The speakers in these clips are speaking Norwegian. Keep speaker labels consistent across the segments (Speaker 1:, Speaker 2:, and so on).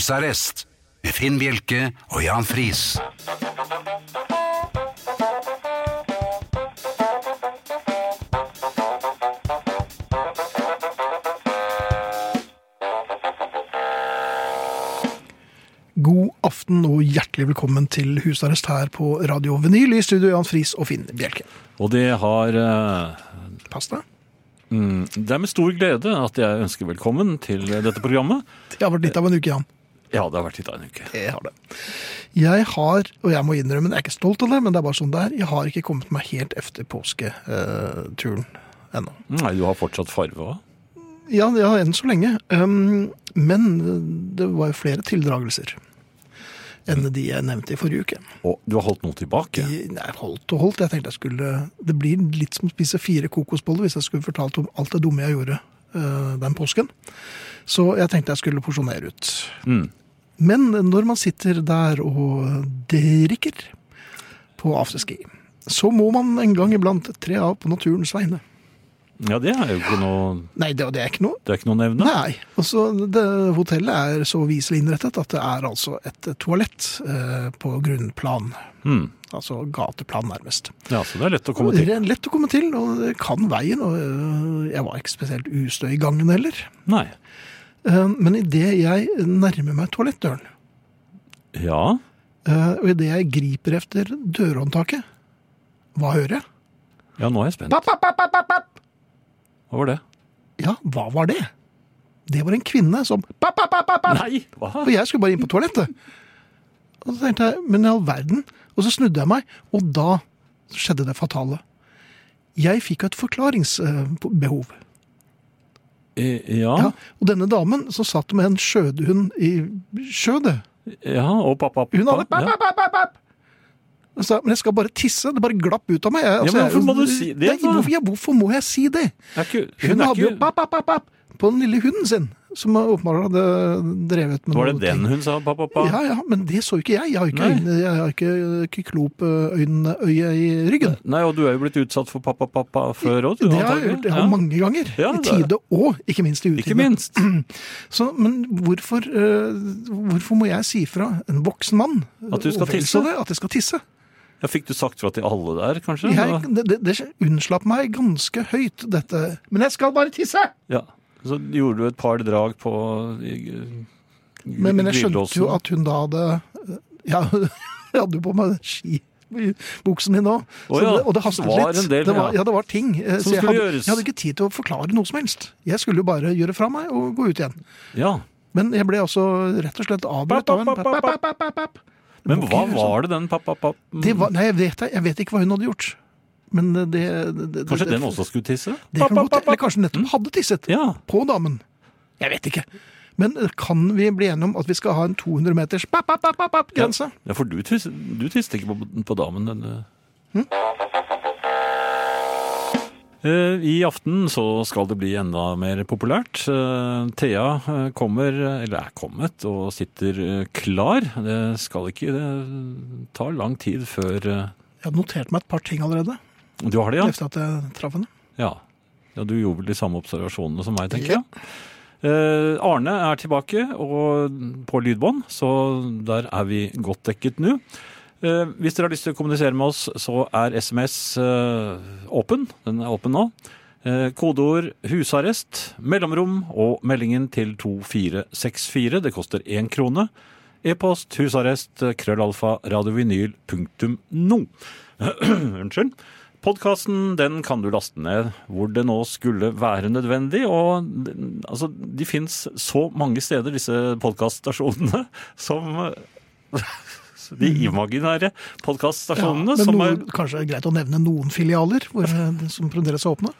Speaker 1: Husarrest med Finn Bjelke og Jan Friis.
Speaker 2: God aften og hjertelig velkommen til husarrest her på Radio Vinyl i studio Jan Friis og Finn Bjelke.
Speaker 3: Og det har eh,
Speaker 2: Pass deg.
Speaker 3: mm, Det er med stor glede at jeg ønsker velkommen til dette programmet.
Speaker 2: Det har vært litt av en uke, Jan.
Speaker 3: Ja, det har vært litt av en uke.
Speaker 2: Jeg har det. Jeg har, og jeg må innrømme, jeg er ikke stolt av det, men det er bare sånn det er, jeg har ikke kommet meg helt efter påsketuren eh, ennå.
Speaker 3: Nei, du har fortsatt farve òg.
Speaker 2: Ja, ja, enn så lenge. Um, men det var jo flere tildragelser enn de jeg nevnte i forrige uke.
Speaker 3: Og du har holdt noe tilbake.
Speaker 2: De, nei, holdt og holdt. Jeg tenkte jeg skulle Det blir litt som å spise fire kokosboller hvis jeg skulle fortalt om alt det dumme jeg gjorde eh, den påsken. Så jeg tenkte jeg skulle porsjonere ut.
Speaker 3: Mm.
Speaker 2: Men når man sitter der og drikker på afterski, så må man en gang iblant tre av på naturens vegne.
Speaker 3: Ja, det er jo ikke noe
Speaker 2: Nei, det, det er ikke noe
Speaker 3: Det er ikke noe å nevne.
Speaker 2: Nei. Også det, hotellet er så viselig innrettet at det er altså et toalett eh, på grunnplan.
Speaker 3: Mm.
Speaker 2: Altså gateplan, nærmest.
Speaker 3: Ja, så det er lett å komme til.
Speaker 2: Det er Lett å komme til, og det kan veien. Og eh, jeg var ikke spesielt ustø i gangen heller.
Speaker 3: Nei.
Speaker 2: Eh, men idet jeg nærmer meg toalettdøren,
Speaker 3: Ja.
Speaker 2: eh, og idet jeg griper efter dørhåndtaket, hva hører jeg?
Speaker 3: Ja, nå er jeg spent.
Speaker 2: Papp, papp, papp, papp, papp, papp.
Speaker 3: Hva var det?
Speaker 2: Ja, hva var det? Det var en kvinne som papp, papp, papp, papp, papp.
Speaker 3: Nei! Hva?
Speaker 2: Og jeg skulle bare inn på toalettet. Og så tenkte jeg, men i all verden. Og så snudde jeg meg, og da skjedde det fatale. Jeg fikk et forklaringsbehov.
Speaker 3: Eh, Ja.
Speaker 2: Ja. Og denne damen som satt med en skjødehund i skjødet,
Speaker 3: ja. Og pappa.
Speaker 2: hun hadde
Speaker 3: Ja.
Speaker 2: pap, pap, pap, pap, pap. Og så sa jeg, men jeg skal bare tisse. Det bare glapp ut av meg. Jeg,
Speaker 3: Ja, men hvorfor må du si det,
Speaker 2: Nei,
Speaker 3: da?
Speaker 2: hvorfor, ja, hvorfor må jeg si det?
Speaker 3: Er ikke, hun,
Speaker 2: Hun,
Speaker 3: er
Speaker 2: hadde jo
Speaker 3: ikke,
Speaker 2: pap, pap, pap, pap, på den lille hunden sin, som åpenbart hadde drevet med
Speaker 3: Var det
Speaker 2: noe ting.
Speaker 3: den hun sa pappa? pappa?
Speaker 2: Ja, ja, men det så ikke jeg. Jeg har ikke,
Speaker 3: Nei.
Speaker 2: øyne, jeg har ikke kyklopøye i ryggen.
Speaker 3: Nei, og du er jo blitt utsatt for pappa pappa før òg, du.
Speaker 2: Det har jeg
Speaker 3: antagelig.
Speaker 2: gjort jeg har
Speaker 3: Ja.
Speaker 2: mange ganger.
Speaker 3: Ja,
Speaker 2: I
Speaker 3: det-
Speaker 2: tide og ikke minst i utide.
Speaker 3: Ikke minst.
Speaker 2: Så, men hvorfor, eh, hvorfor må jeg si fra en voksen mann
Speaker 3: At du skal
Speaker 2: og vel
Speaker 3: tisse?
Speaker 2: så Det, at jeg skal tisse?
Speaker 3: Ja, fikk du sagt fra til alle der, kanskje?
Speaker 2: Jeg, det, det, det unnslapp meg ganske høyt, dette. Men jeg skal bare tisse!
Speaker 3: Ja. Så gjorde du et par drag på
Speaker 2: Men, men jeg skjønte jo at hun da hadde eh, Ja, jeg hadde jo på meg ski. Buksen min òg.
Speaker 3: Å ja,
Speaker 2: det- Og det hastet
Speaker 3: det var
Speaker 2: litt.
Speaker 3: en del,
Speaker 2: det var,
Speaker 3: ja.
Speaker 2: ja, det var ting. eh,
Speaker 3: Som
Speaker 2: jeg
Speaker 3: skulle
Speaker 2: hadde,
Speaker 3: gjøres.
Speaker 2: jeg hadde ikke tid til å forklare noe som helst. Jeg skulle jo bare gjøre fra meg og gå ut igjen.
Speaker 3: Ja.
Speaker 2: Men jeg ble altså rett og slett avbrutt av en
Speaker 3: Papp, papp, papp, papp, Men hva var det den pappa pappa
Speaker 2: sånn- Det var, nei, jeg vet, det. jeg vet ikke hva hun hadde gjort. Men det, det, det
Speaker 3: Kanskje
Speaker 2: det,
Speaker 3: den også skulle tisse?
Speaker 2: Det kan
Speaker 3: Papp,
Speaker 2: godt,
Speaker 3: papp,
Speaker 2: eller
Speaker 3: papp.
Speaker 2: kanskje hun nettopp hadde tisset.
Speaker 3: Ja.
Speaker 2: På damen. Jeg vet ikke. Men eh, kan vi bli enige om at vi skal ha en 200 meters papp, papp, papp, papp, papp, grense?
Speaker 3: Ja, for du tisse- du tisset ikke på, på damen denne Hm? Eh, I aften så skal det bli enda mer populært. Eh, Thea eh, kommer, eh, eller er kommet, og sitter eh, klar. Det skal ikke eh, ta lang tid før eh,
Speaker 2: Jeg hadde notert meg et par ting allerede.
Speaker 3: Du har det, ja?
Speaker 2: Efter at jeg traff henne.
Speaker 3: Ja. ja, du gjorde vel de samme observasjonene som meg, tenker jeg. Eh, Arne er tilbake og på lydbånd, så der er vi godt dekket nå. Eh, hvis dere har lyst til å kommunisere med oss, så er SMS eh, åpen. Den er åpen nå. Eh, kodeord 'husarrest', mellomrom og meldingen til 2464. Det koster én krone. E-post husarrest krøllalfa radiovinyl punktum no. Unnskyld. Podkasten den kan du laste ned hvor det nå skulle være nødvendig. og den- altså, De fins så mange steder, disse podkaststasjonene, som De imaginære podkaststasjonene.
Speaker 2: men
Speaker 3: som
Speaker 2: noe,
Speaker 3: er
Speaker 2: Kanskje det er greit å nevne noen filialer hvor, eh, som fremdeles er åpne?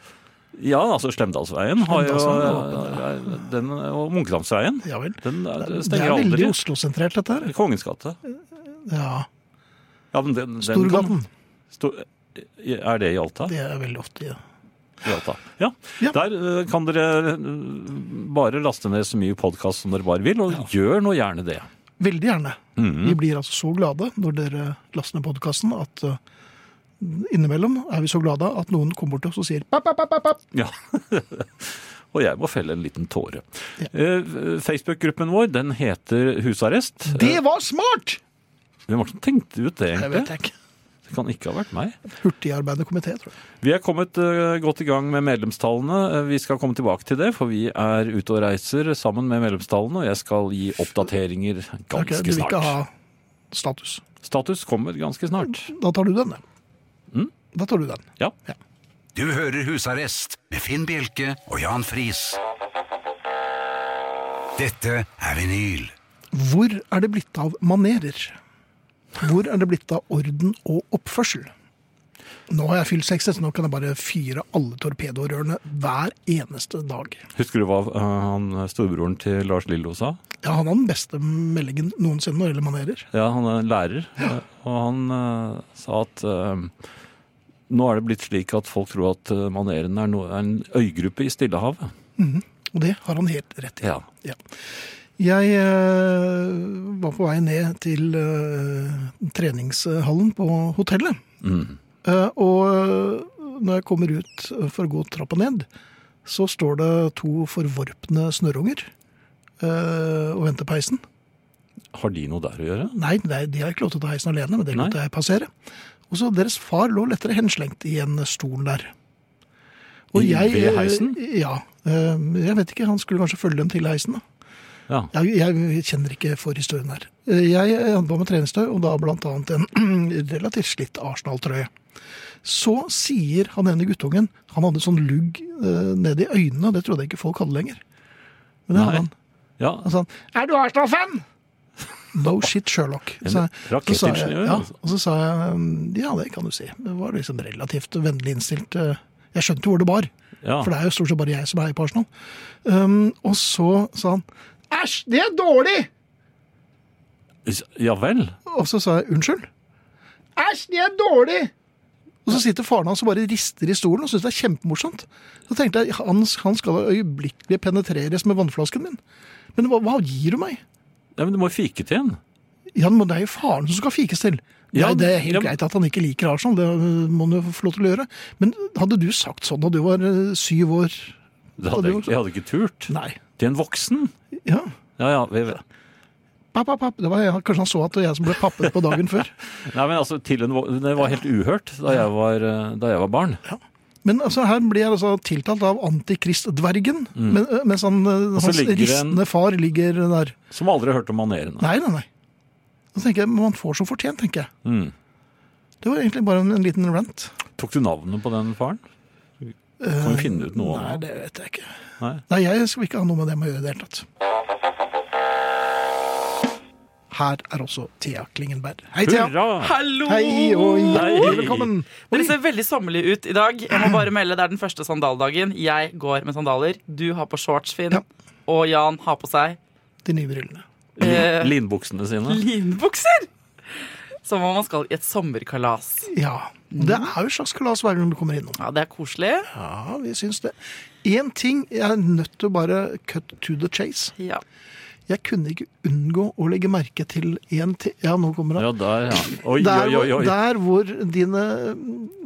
Speaker 3: Ja, altså Slemdalsveien har jo
Speaker 2: Slemdalsveien
Speaker 3: den, Og Munkedamsveien.
Speaker 2: Ja vel.
Speaker 3: Den er-
Speaker 2: Det
Speaker 3: stenger
Speaker 2: er
Speaker 3: aldri.
Speaker 2: veldig Oslo-sentrert, dette her.
Speaker 3: Kongens gate.
Speaker 2: Ja.
Speaker 3: Ja, men den, den kan-
Speaker 2: Storgaten.
Speaker 3: Stor- er det i Alta?
Speaker 2: Det er veldig ofte ja.
Speaker 3: I Alta. Ja.
Speaker 2: Ja.
Speaker 3: Der eh, kan dere eh, bare laste ned så mye podkast som dere bare vil, og gjør nå gjerne det.
Speaker 2: Veldig gjerne. Vi blir altså så glade når dere laster ned podkasten at eh, innimellom er vi så glade at noen kommer bort til oss og sier papp, papp, papp, papp, papp.
Speaker 3: Ja. Og jeg må felle en liten tåre.
Speaker 2: Ja.
Speaker 3: Eh, Facebook-gruppen vår den heter Husarrest.
Speaker 2: Det var smart!
Speaker 3: Eh, Hvem var det som tenkte ut det,
Speaker 2: Jeg vet
Speaker 3: egentlig?
Speaker 2: jeg ikke.
Speaker 3: Det kan ikke ha vært meg.
Speaker 2: Hurtigarbeidende komité, tror jeg.
Speaker 3: Vi er kommet eh, godt i gang med medlemstallene. Eh, Vi skal komme tilbake til det, for vi er ute og reiser sammen med medlemstallene, og jeg skal gi oppdateringer
Speaker 2: Ok,
Speaker 3: ganske
Speaker 2: du vil ikke ha
Speaker 3: snart.
Speaker 2: status.
Speaker 3: Status kommer ganske snart.
Speaker 2: Da tar du den, da. Da tar du den.
Speaker 3: Ja.
Speaker 1: Du hører Husarrest med Finn Bjelke og Jan Friis. Dette er vinyl.
Speaker 2: Hvor er det blitt av manerer? Hvor er det blitt av orden og oppførsel? Nå har jeg fylt 60, så nå kan jeg bare fyre alle torpedorørene hver eneste dag.
Speaker 3: Husker du hva eh, han storebroren til Lars Lillo sa?
Speaker 2: Ja, han har den beste meldingen noensinne når det gjelder manerer.
Speaker 3: Ja, han er lærer, eh, og han eh, sa at eh, nå er det blitt slik at folk tror at eh, manerene er, noe- er en øygruppe i Stillehavet.
Speaker 2: Og det har han helt rett i.
Speaker 3: Ja.
Speaker 2: Ja. Jeg eh, var på vei ned til eh, treningshallen på hotellet. Eh, og når jeg kommer ut for å gå trappa ned, så står det to forvorpne snørrunger eh, og venter på heisen.
Speaker 3: Har de noe der å gjøre?
Speaker 2: Nei, nei, de har ikke lov til å ta heisen alene, men det lot
Speaker 3: Nei.
Speaker 2: jeg passere. Og så deres far lå lettere henslengt i en stol der. Og
Speaker 3: I-
Speaker 2: jeg,
Speaker 3: ved heisen?
Speaker 2: eh, Ja. eh, Jeg vet ikke, han skulle kanskje følge dem til heisen. da.
Speaker 3: Ja.
Speaker 2: Jeg, jeg kjenner ikke forhistorien her. Eh, Jeg hadde på meg treningstøy, og da blant annet en relativt slitt Arsenal-trøye. Så sier han ene guttungen Han hadde sånn lugg eh, ned i øynene, det trodde jeg ikke folk hadde lenger. Men det hadde
Speaker 3: Nei.
Speaker 2: han.
Speaker 3: ja.
Speaker 2: Han sa sånn, Er du Arsenal-fan? No shit, Sherlock.
Speaker 3: En
Speaker 2: Så jeg- så sa jeg-
Speaker 3: rakettingeniør,
Speaker 2: Ja,
Speaker 3: altså.
Speaker 2: og så sa jeg "Mm, ja, det kan du si. Det var liksom relativt vennlig innstilt. eh, Jeg skjønte hvor det bar.
Speaker 3: Ja.
Speaker 2: For det er jo stort sett bare jeg som heier på Arsenal. Um, og så sa han Æsj, det er dårlig!
Speaker 3: ja vel.
Speaker 2: Og så sa jeg unnskyld. Æsj, det er dårlig! Og så sitter faren hans og bare rister i stolen og syns det er kjempemorsomt. Så tenkte jeg han, han skal øyeblikkelig penetreres med vannflasken min. Men hva, hva gir du meg?
Speaker 3: Ja, men du må jo fike til en.
Speaker 2: Ja, men det er jo faren som skal fikes til. Ja,
Speaker 3: Ja,
Speaker 2: det er helt
Speaker 3: ja.
Speaker 2: greit at han ikke liker Arsenal, det øh, må han jo få lov til å gjøre. Men hadde du sagt sånn da du var øh, syv år
Speaker 3: Det hadde jeg,
Speaker 2: gjort-
Speaker 3: jeg hadde ikke turt.
Speaker 2: Nei.
Speaker 3: Til en voksen?
Speaker 2: Ja.
Speaker 3: Ja, ja. Vi, nei,
Speaker 2: Papp, papp, papp. Det var jeg, kanskje han så at det var jeg som ble pappet på dagen før.
Speaker 3: men altså, til en, vok- Det var helt uhørt da jeg var, eh, da jeg var barn.
Speaker 2: Men altså, her blir jeg altså tiltalt av antikristdvergen, men, øh, mens han, øh,
Speaker 3: Mm. så
Speaker 2: hans
Speaker 3: ligger det en-
Speaker 2: ristende far ligger der.
Speaker 3: Som aldri hørte om manerene.
Speaker 2: Nei, nei, nei. Da tenker jeg, Man får som fortjent, tenker jeg.
Speaker 3: Mm.
Speaker 2: Det var egentlig bare en, en liten rant.
Speaker 3: Tok du navnet på den faren? Kan vi finne ut noe om
Speaker 2: Eh, Nei,
Speaker 3: det?
Speaker 2: det vet jeg ikke.
Speaker 3: Nei.
Speaker 2: Nei, jeg skal ikke ha noe med dem å gjøre i det hele tatt. Her er også Thea Klingenberg. Hei, Thea.
Speaker 3: Hurra!
Speaker 4: Hallo!
Speaker 2: Hei og
Speaker 3: Hei.
Speaker 2: hjertelig velkommen.
Speaker 4: Dere ser veldig sommerlige ut i dag. Jeg må bare melde, Det er den første sandaldagen. Jeg går med sandaler. Du har på shorts, Finn.
Speaker 2: Ja.
Speaker 4: Og Jan har på seg
Speaker 2: De nye brillene.
Speaker 4: eh,
Speaker 3: Lin- Linbuksene sine.
Speaker 4: linbukser! Som om man skal i et sommerkalas.
Speaker 2: Ja. Det
Speaker 3: Mhm.
Speaker 2: er jo et slags kalas hver gang du kommer innom.
Speaker 4: Ja, Det er koselig.
Speaker 2: Ja, vi syns det. Én ting jeg er nødt til å bare cut to the chase.
Speaker 4: Ja.
Speaker 2: Jeg kunne ikke unngå å legge merke til en til Ja, nå kommer han.
Speaker 3: Ja, der, ja. Oi,
Speaker 2: Der,
Speaker 3: oi, oi.
Speaker 2: hvor-
Speaker 3: oi.
Speaker 2: der hvor dine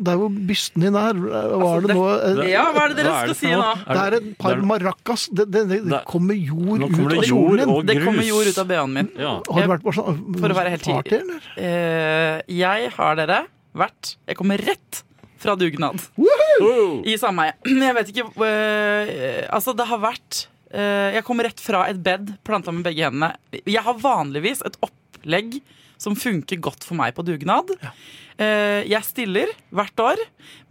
Speaker 2: Der hvor bysten din er,
Speaker 3: Altså,
Speaker 2: var det nå eh,
Speaker 4: ja, hva er det dere
Speaker 3: Hva er
Speaker 4: skal
Speaker 3: det for
Speaker 4: si nå?
Speaker 3: noe?
Speaker 2: Det er et par
Speaker 3: det-
Speaker 2: maracas. Det, det, det, det
Speaker 3: Der.
Speaker 2: kommer jord ut
Speaker 3: Nå kommer
Speaker 2: av
Speaker 3: det jord
Speaker 2: kjolen din.
Speaker 3: og
Speaker 4: Det kommer jord
Speaker 3: grus.
Speaker 4: ut av bh-en min.
Speaker 3: Ja.
Speaker 2: Har du vært på sånn
Speaker 4: For å være helt
Speaker 2: party, eller?
Speaker 4: Eh, jeg har dere vært Jeg kommer rett fra dugnad.
Speaker 3: Oh.
Speaker 4: I sameie. Jeg vet ikke øh, Altså, det har vært øh, Jeg kom rett fra et bed, planta med begge hendene. Jeg har vanligvis et opplegg som funker godt for meg på dugnad. Eh, jeg stiller hvert år,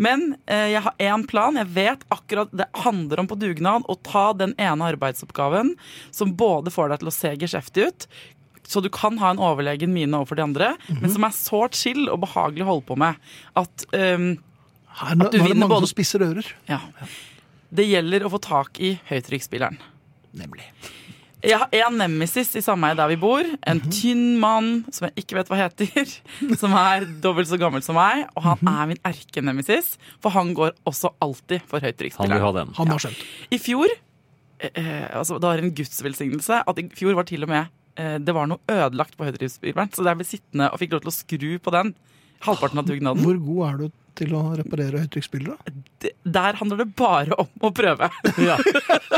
Speaker 4: men eh, jeg har én plan. Jeg vet akkurat Det handler om på dugnad å ta den ene arbeidsoppgaven som både får deg til å se geskjeftig ut, så du kan ha en overlegen mine overfor de andre, men som er sårt chill og behagelig å holde på med. At ehm,
Speaker 2: Her, nå,
Speaker 4: At du
Speaker 2: nå er det
Speaker 4: vinner
Speaker 2: mange
Speaker 4: både-
Speaker 2: som spisser ører.
Speaker 4: ja. Det gjelder å få tak i høytrykksspilleren.
Speaker 2: Nemlig.
Speaker 4: Jeg har en nemesis i sameie der vi bor. En
Speaker 3: Mhm.
Speaker 4: tynn mann som jeg ikke vet hva heter. Som er dobbelt så gammel som meg. Og han
Speaker 3: Mhm.
Speaker 4: er min erkenemesis, for han går også alltid for
Speaker 3: Han vil ha
Speaker 4: høytrykksspilleren.
Speaker 3: den.
Speaker 2: Han har skjønt.
Speaker 4: I fjor eh, eh, altså, Det var en gudsvelsignelse at i fjor var til og med eh, det var noe ødelagt på høytrykksspilleren. Så jeg ble sittende og fikk lov til å skru på den halvparten av dugnaden.
Speaker 2: Hvor god er du til å reparere høytrykksspillere?
Speaker 4: Det- Der handler det bare om å prøve.
Speaker 3: Ja.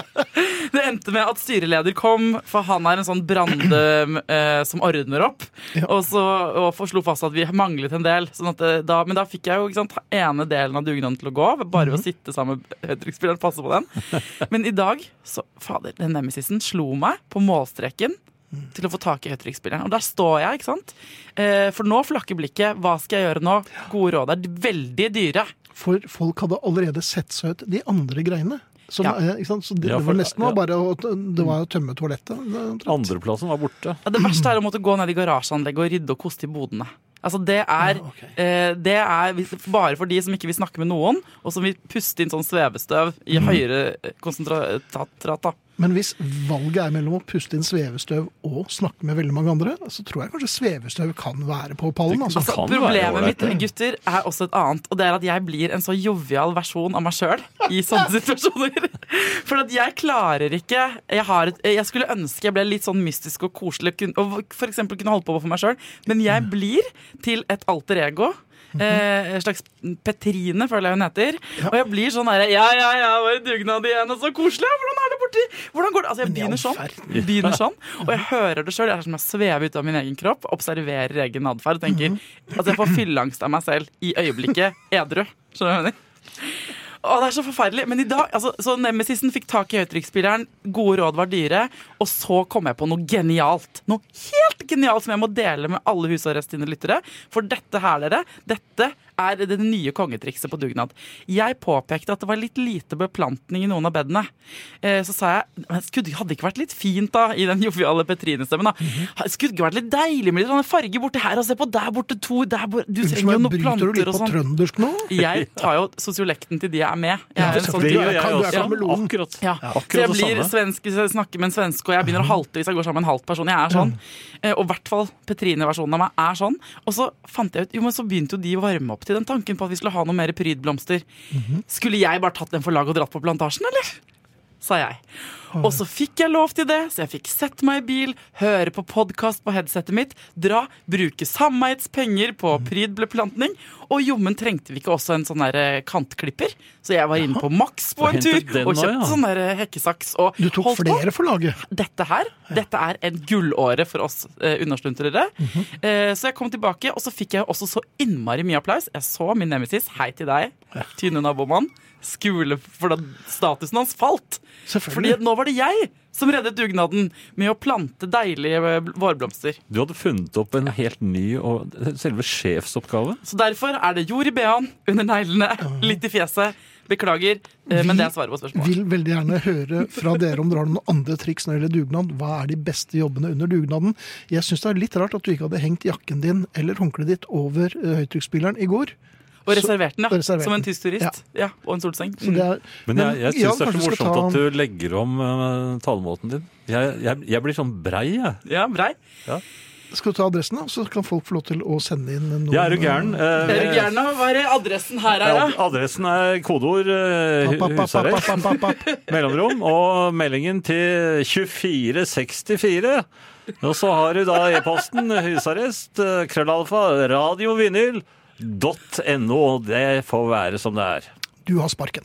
Speaker 4: Det endte med at styreleder kom, for han er en sånn brande eh, som ordner opp.
Speaker 2: Ja.
Speaker 4: Og så og for- slo fast at vi manglet en del. Sånn at det, da, men da fikk jeg jo ikke sant, ene delen av dugnaden til å gå av. Bare ved å sitte sammen med høytrykksspilleren og passe på den. Men i dag, så fader, den nemesisen slo meg på målstreken. Til å få tak i høytrykksspilleren. Og der står jeg, ikke sant. Eh, for nå flakker blikket. Hva skal jeg gjøre nå? Gode råd er veldig dyre.
Speaker 2: For folk hadde allerede sett seg ut de andre greiene. Som,
Speaker 4: Ja.
Speaker 2: er- ikke sant? Så det,
Speaker 3: Ja,
Speaker 2: det
Speaker 3: for-
Speaker 2: var nesten
Speaker 3: ja.
Speaker 2: bare å, det var å tømme toalettet. omtrent.
Speaker 3: Andreplassen var borte.
Speaker 4: Ja, det verste er å måtte gå ned i garasjeanlegget og rydde og koste i bodene. Altså det er,
Speaker 2: Ja, ok.
Speaker 4: eh, det er hvis- bare for de som ikke vil snakke med noen, og som vil puste inn sånn svevestøv i
Speaker 2: Mm.
Speaker 4: høyere eh, konsentrat. Da.
Speaker 2: Men hvis valget er mellom å puste inn svevestøv og snakke med veldig mange andre, så tror jeg kanskje svevestøv kan være på pallen. Altså.
Speaker 3: Kan være
Speaker 4: Problemet mitt
Speaker 3: ålreit,
Speaker 4: gutter, er også et annet, og det er at jeg blir en så jovial versjon av meg sjøl i sånne situasjoner. For at jeg klarer ikke jeg, har et, jeg skulle ønske jeg ble litt sånn mystisk og koselig kun- og f.eks. kunne holde på for meg sjøl, men jeg blir til et alter ego.
Speaker 2: Mhm.
Speaker 4: Eh, en slags Petrine, føler jeg hun heter. Og jeg blir sånn derre Ja, ja, ja, var det dugnad igjen? Og så koselig! ja, Hvordan er det borti Hvordan går det? Altså, jeg
Speaker 2: Men i all
Speaker 4: begynner sånn.
Speaker 2: verden.
Speaker 4: Begynner sånn og jeg hører det sjøl. Jeg er som jeg svever ut av min egen kropp, observerer egen atferd og tenker at jeg får fylleangst av meg selv i øyeblikket edru. Skjønner du hva jeg mener? Å, det er så forferdelig. Men i dag, altså, så Nemesisen fikk tak i høytrykksspilleren, gode råd var dyre, og så kom jeg på noe genialt. Noe helt genialt som jeg må dele med alle husarrestine lyttere. For dette her, dere, dette er det nye kongetrikset på dugnad. Jeg påpekte at det var litt lite beplantning i noen av bedene. Eh, Så sa jeg men skulle det hadde ikke vært litt fint da, i den joviale Petrine-stemmen. da. Skulle det ikke vært litt deilig med litt sånn farge borte her, og se på der borte to der borte. Du
Speaker 2: Unnskyld
Speaker 4: trenger jo
Speaker 2: meg,
Speaker 4: noen
Speaker 2: bryter du
Speaker 4: planter
Speaker 2: litt
Speaker 4: og
Speaker 2: på
Speaker 4: sånn.
Speaker 2: trøndersk nå?
Speaker 4: Jeg tar jo sosiolekten til de jeg er med. Jeg er en sånn
Speaker 3: Det
Speaker 2: Du er-
Speaker 3: gjør jeg
Speaker 2: du er
Speaker 3: også.
Speaker 2: kameleon.
Speaker 3: Akkurat,
Speaker 4: ja. Så jeg
Speaker 3: akkurat det
Speaker 4: blir
Speaker 3: samme.
Speaker 4: svensk hvis jeg snakker med en svenske, og jeg begynner å halte hvis jeg går sammen med en halvt person. Jeg er sånn. Eh, Og i hvert fall Petrine-versjonen av meg er sånn. Og så fant jeg ut, jo, men så begynte jo de å varme opp til den tanken på at vi skulle ha noe mer prydblomster.
Speaker 3: Mhm.
Speaker 4: Skulle jeg bare tatt den for lag og dratt på plantasjen, eller? Sa jeg. Og så fikk jeg lov til det, så jeg fikk sette meg i bil, høre på podkast på headsetet mitt, dra, bruke sameiets penger på
Speaker 3: Mhm.
Speaker 4: prydbeplantning, og jommen trengte vi ikke også en sånn der eh, kantklipper, så jeg var inne på Max på
Speaker 3: Og
Speaker 4: en tur
Speaker 3: hentet den
Speaker 4: og
Speaker 3: også,
Speaker 4: kjøpte
Speaker 3: ja.
Speaker 4: sånn sånn der hekkesaks og
Speaker 2: Du tok
Speaker 4: holdt på.
Speaker 2: flere for laget.
Speaker 4: Dette her, dette er en gullåre for oss eh, unnasluntrere.
Speaker 2: Mhm.
Speaker 4: eh, så jeg kom tilbake, og så fikk jeg også så innmari mye applaus. Jeg så min nemesis, hei til deg, tynne nabomann, skule for da statusen hans falt. Fordi
Speaker 2: Selvfølgelig.
Speaker 4: at nå var det jeg som reddet dugnaden med å plante deilige eh, bl- vårblomster.
Speaker 3: Du hadde funnet opp en helt ny og selve sjefsoppgave.
Speaker 4: Så derfor er det jord i bh-en, under neglene, litt i fjeset. Beklager, eh, men
Speaker 2: Vi
Speaker 4: det er svaret på spørsmålet.
Speaker 2: Vil veldig gjerne høre fra dere om dere har noen andre triks når det gjelder dugnad. Hva er de beste jobbene under dugnaden? Jeg syns det er litt rart at du ikke hadde hengt jakken din eller håndkleet ditt over eh, høytrykksspilleren i går.
Speaker 4: Og
Speaker 2: Så-
Speaker 4: reservert den, ja.
Speaker 2: og reservert
Speaker 4: Som en
Speaker 2: den.
Speaker 4: tysk turist. Ja. Og en solseng. Mm.
Speaker 2: Så det er,
Speaker 3: Mm. Men jeg, jeg syns det er så
Speaker 2: kanskje vi skal
Speaker 3: morsomt
Speaker 2: ta-
Speaker 3: at du legger om eh, talemåten din. Jeg, jeg, jeg blir sånn brei, jeg.
Speaker 4: Ja, brei.
Speaker 2: Skal du ta adressen, da? Så kan folk få lov til å sende inn noen
Speaker 3: Jeg er jo gæren. eh,
Speaker 4: Er du gæren? Hva er adressen her, er,
Speaker 3: ad- Adressen er kodeord eh,
Speaker 2: Papp, papp, papp, papp,
Speaker 3: husarrest,
Speaker 2: papp, papp, papp.
Speaker 3: mellomrom, og meldingen til 2464. Og så har du da e-posten husarrest, eh, krøllalfa, radiovinyl.no. Det får være som det er.
Speaker 2: Du har sparken.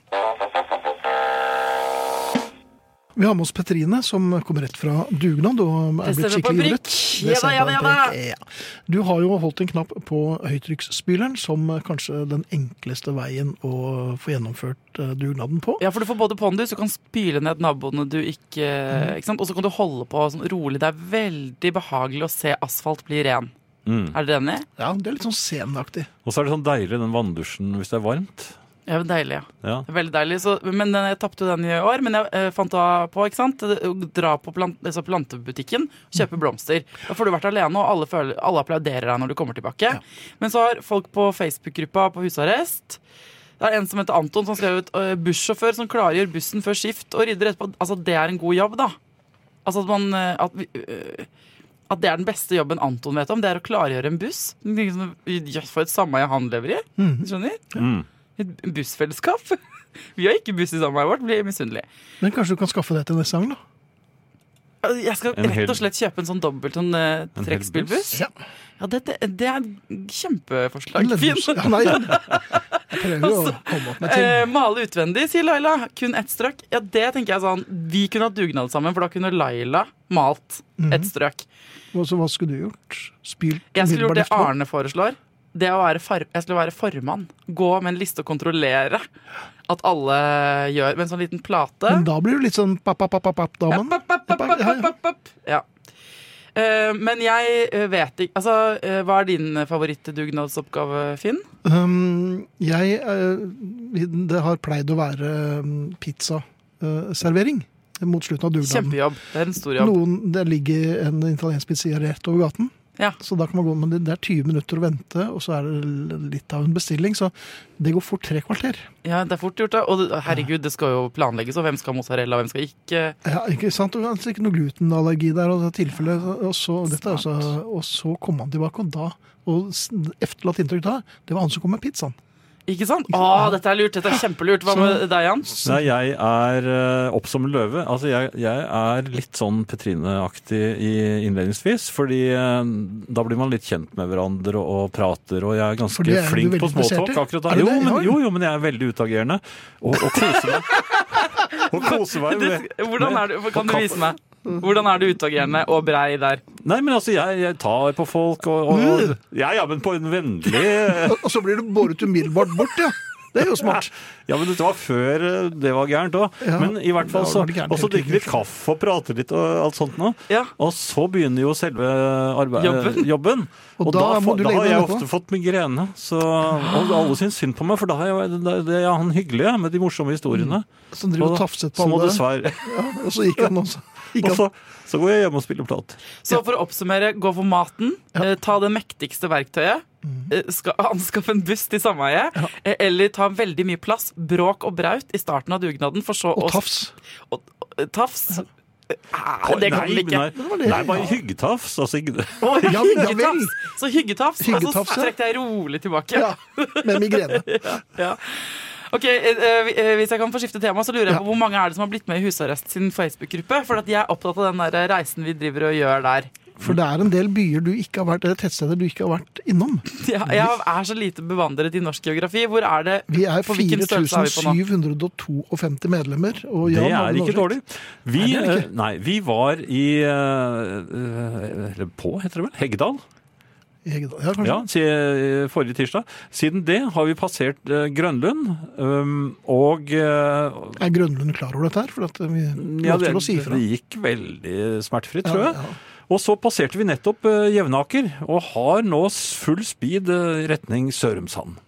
Speaker 2: Vi har med oss Petrine, som kommer rett fra dugnad og er blitt
Speaker 4: Presse på en
Speaker 2: skikkelig
Speaker 4: prikk.
Speaker 2: ivret.
Speaker 4: Ja da,
Speaker 2: ser jeg
Speaker 4: ja
Speaker 2: på en
Speaker 4: da, ja da.
Speaker 2: prikk. Ja. Du har jo holdt en knapp på høytrykksspyleren som kanskje den enkleste veien å få gjennomført eh, dugnaden på.
Speaker 4: Ja, for du får både pondus, du kan spyle ned naboene du ikke Ikke sant? Og så kan du holde på sånn rolig. Det er veldig behagelig å se asfalt bli ren. Er dere enig?
Speaker 2: Ja, Det er litt sånn senaktig.
Speaker 3: Og så er det sånn deilig den vanndusjen hvis det er varmt.
Speaker 4: Ja, men deilig, ja.
Speaker 3: Ja.
Speaker 4: Det er Veldig deilig. Så, men den, jeg tapte jo den i år, men jeg eh, fant da på, ikke sant Å Dra på plant, altså plantebutikken, kjøpe blomster. Da får du vært alene, og alle, føler, alle applauderer deg når du kommer tilbake. Men så har folk på Facebook-gruppa på husarrest det er en som heter Anton som skrev ut eh, bussjåfør som klargjør bussen før skift og rydder etterpå. Altså, det er en god jobb, da. Altså at man eh, at, vi, eh, at det er den beste jobben Anton vet om, det er å klargjøre en buss. Liksom, Jøss, for et sameie han lever i. Skjønner?
Speaker 3: Mm.
Speaker 4: Et bussfellesskap. Vi har ikke buss i samarbeidet vårt, blir misunnelige.
Speaker 2: Men kanskje du kan skaffe det til neste gang, da?
Speaker 4: Altså, Jeg skal
Speaker 3: En hel-
Speaker 4: rett og slett kjøpe en sånn dobbelt sånn eh,
Speaker 3: En hel buss?
Speaker 4: trekkspillbuss.
Speaker 2: Ja.
Speaker 4: Ja, det, det, det er et kjempeforslag.
Speaker 2: Lønnbuss.
Speaker 4: Fin.
Speaker 2: Ja, nei, ja. Jeg prøver jo å komme opp med ting.
Speaker 4: Eh, male utvendig, sier Laila. Kun ett strøk. Ja, det tenker jeg sånn Vi kunne hatt dugnad sammen, for da kunne Laila malt
Speaker 3: Mhm.
Speaker 4: ett strøk.
Speaker 2: Og så hva skulle du gjort? Spylt
Speaker 4: Jeg skulle gjort det
Speaker 2: etterpå?
Speaker 4: Arne foreslår. Det å være far jeg skulle være formann. Gå med en liste og kontrollere at alle gjør Med en sånn liten plate.
Speaker 3: Mhm.
Speaker 2: Men da blir du litt sånn papp-papp-papp-damen.
Speaker 4: Papp, papp, papp, papp, papp, papp, papp. Ja. Eh, men jeg eh, vet ikke Altså, eh, hva er din favorittdugnadsoppgave, Finn?
Speaker 2: Um, jeg eh, Det har pleid å være um, pizzaservering eh, mot slutten av dugnaden.
Speaker 4: Kjempejobb. Det er en stor jobb.
Speaker 2: Noen, det ligger en italiensk pizzeria rett over gaten.
Speaker 4: Ja.
Speaker 2: Så da kan man gå, men det- Det er 20 minutter å vente, og så er det litt av en bestilling. Så det går fort tre kvarter.
Speaker 4: Ja, det er fort gjort, da. Og det- herregud, det skal jo planlegges, og hvem skal ha mozzarella, og hvem skal ikke?
Speaker 2: Ja, ikke sant? Og altså ikke noe glutenallergi der, og det er tilfelle, og så, dette, er
Speaker 4: Smart.
Speaker 2: også- og så kom han tilbake, og da og s- efterlatt inntrykk da, det var han som kom med pizzaen.
Speaker 4: Ikke sant? Å, dette er lurt! Dette er kjempelurt. Hva med deg, Jan?
Speaker 3: Nei, jeg er eh, opp som en løve. Altså, jeg, jeg er litt sånn Petrine-aktig i- innledningsvis, fordi eh, da blir man litt kjent med hverandre og, og prater, og jeg
Speaker 2: For
Speaker 3: er
Speaker 2: det
Speaker 3: ganske
Speaker 2: er du
Speaker 3: flink
Speaker 2: veldig
Speaker 3: på
Speaker 2: interessert
Speaker 3: småtalk
Speaker 2: i.
Speaker 3: akkurat da.
Speaker 2: Er du
Speaker 3: Jo
Speaker 2: det?
Speaker 3: men,
Speaker 2: Oi.
Speaker 3: jo, jo, men jeg er veldig utagerende, og, og koser meg. Og koser meg med
Speaker 4: Det- Hvordan er du, kan du vise meg? Hvordan er du utagerende og brei der?
Speaker 3: Nei, men altså, jeg, jeg tar på folk og, og, og
Speaker 2: Mm.
Speaker 3: Ja, ja, men på en vennlig eh,
Speaker 2: Og så blir du båret umiddelbart bort, ja. Det er jo smart.
Speaker 3: Ja, men dette var før eh, det var gærent òg.
Speaker 2: Ja,
Speaker 3: men i hvert fall
Speaker 2: da
Speaker 3: så
Speaker 2: var det gærent
Speaker 3: Og så
Speaker 2: hele
Speaker 3: drikke
Speaker 2: tiden.
Speaker 3: litt kaffe og prate litt og alt sånt nå.
Speaker 4: Ja.
Speaker 3: Og så begynner jo selve arbe-
Speaker 4: Jobben.
Speaker 3: eh, jobben.
Speaker 2: Og
Speaker 3: Og,
Speaker 2: da
Speaker 3: da,
Speaker 2: må
Speaker 3: får-
Speaker 2: du
Speaker 3: da
Speaker 2: legge
Speaker 3: har
Speaker 2: deg
Speaker 3: jeg
Speaker 2: nedpå.
Speaker 3: ofte fått migrene. Så, og alle syns synd på meg, for da er jeg, det, det er han hyggelige med de morsomme historiene.
Speaker 2: Som Mm. driver og
Speaker 3: da-
Speaker 2: tafset på
Speaker 3: så må
Speaker 2: alle.
Speaker 3: du sverre.
Speaker 2: Ja, og så gikk han også. Gikk
Speaker 3: Og
Speaker 2: han.
Speaker 3: så, så går jeg hjem og spiller plater.
Speaker 4: Så for å oppsummere, gå for maten, eh, ta det mektigste verktøyet,
Speaker 2: Mhm.
Speaker 4: eh, ska- anskaff en buss til sameiet, eh, eller ta veldig mye plass, bråk og braut i starten av dugnaden, for så
Speaker 2: Og
Speaker 4: å-
Speaker 2: tafs.
Speaker 4: og- og- Tafs. Ah, det kan vi
Speaker 3: nei,
Speaker 4: ikke.
Speaker 2: Det var
Speaker 3: Nei,
Speaker 2: det.
Speaker 3: nei, bare hyggetafs. Altså, ikke-
Speaker 4: Å,
Speaker 2: Ja, ja vel.
Speaker 4: hyggetafs. Så hyggetafs, og
Speaker 2: Hyggetafs,
Speaker 4: så
Speaker 2: ja.
Speaker 4: trekk deg rolig tilbake.
Speaker 2: Ja, med migrene.
Speaker 4: Ja. Ok, eh, eh, Hvis jeg kan få skifte tema, så lurer jeg
Speaker 2: Ja.
Speaker 4: på hvor mange er det som har blitt med i Husarrest sin Facebook-gruppe? For at jeg er opptatt av den der reisen vi driver og gjør der.
Speaker 2: For det er en del byer du ikke har vært, eller tettsteder du ikke har vært innom.
Speaker 4: Jeg, jeg er så lite bevandret i norsk geografi. Hvor er det
Speaker 2: Vi er
Speaker 4: På hvilken størrelse er vi på nå?
Speaker 2: 4752 medlemmer. Og
Speaker 3: Det
Speaker 2: Jan hadde
Speaker 3: er
Speaker 2: en oversikt.
Speaker 3: ikke dårlig. Vi,
Speaker 2: Nei, det er det
Speaker 3: eh, nei, vi var i eh, eh, Eller på, heter det vel? Heggedal.
Speaker 2: I Heggedal. Ja, kanskje.
Speaker 3: Ja, si- eh, forrige tirsdag. Siden det har vi passert eh, Grønlund. um, Og eh,
Speaker 2: Er Grønlund klar over dette her? For at vi
Speaker 3: ja,
Speaker 2: lov
Speaker 3: det,
Speaker 2: til å si ifra.
Speaker 3: det gikk veldig smertefritt,
Speaker 2: Ja,
Speaker 3: tror
Speaker 2: ja.
Speaker 3: jeg. Og så passerte vi nettopp eh, Jevnaker, og har nå s- full speed eh, retning Sørumsand.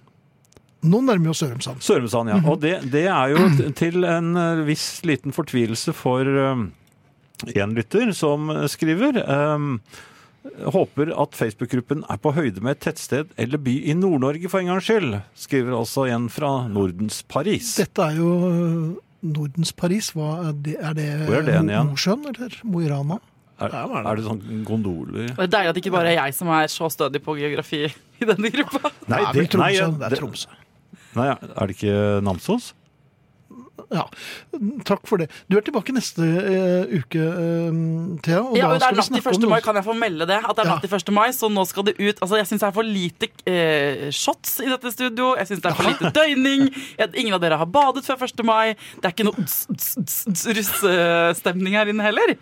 Speaker 2: Nå nærmer vi oss Sørumsand.
Speaker 3: Sørumsand, ja.
Speaker 2: Mhm.
Speaker 3: Og det, det er jo t- til en eh, viss liten fortvilelse for én lytter som skriver ehm, Håper at Facebook-gruppen er på høyde med et tettsted eller by i Nord-Norge for en gangs skyld, skriver altså en fra Nordens Paris.
Speaker 2: Dette er jo øh, Nordens Paris. Hva er det? Er det,
Speaker 3: Hvor er det hen
Speaker 2: Mo-
Speaker 3: igjen?
Speaker 2: Mosjøen eller Mo i Rana?
Speaker 3: Er, er det sånn gondoler
Speaker 4: Det er deilig at ikke bare er jeg som er så stødig på geografi i denne gruppa.
Speaker 3: Nei,
Speaker 2: det er vel
Speaker 3: nei,
Speaker 2: Tromsø.
Speaker 3: ja,
Speaker 2: det er Tromsø.
Speaker 3: Nei, er det ikke Namsos?
Speaker 2: Ja, takk for det. Du er tilbake neste eh, uke, eh, Thea. Og
Speaker 4: Ja,
Speaker 2: da
Speaker 4: og det er
Speaker 2: skal vi
Speaker 4: natt
Speaker 2: snakke
Speaker 4: til 1.
Speaker 2: om
Speaker 4: mai,
Speaker 2: noe.
Speaker 4: kan jeg få melde det? At det er
Speaker 2: Ja.
Speaker 4: natt til 1. mai, så nå skal det ut. Altså, Jeg syns det er for lite eh, shots i dette studio. Jeg syns det er for lite døgning. Jeg, ingen av dere har badet før 1. mai. Det er ikke noe ts- ts- ts- ts- russestemning her inne heller.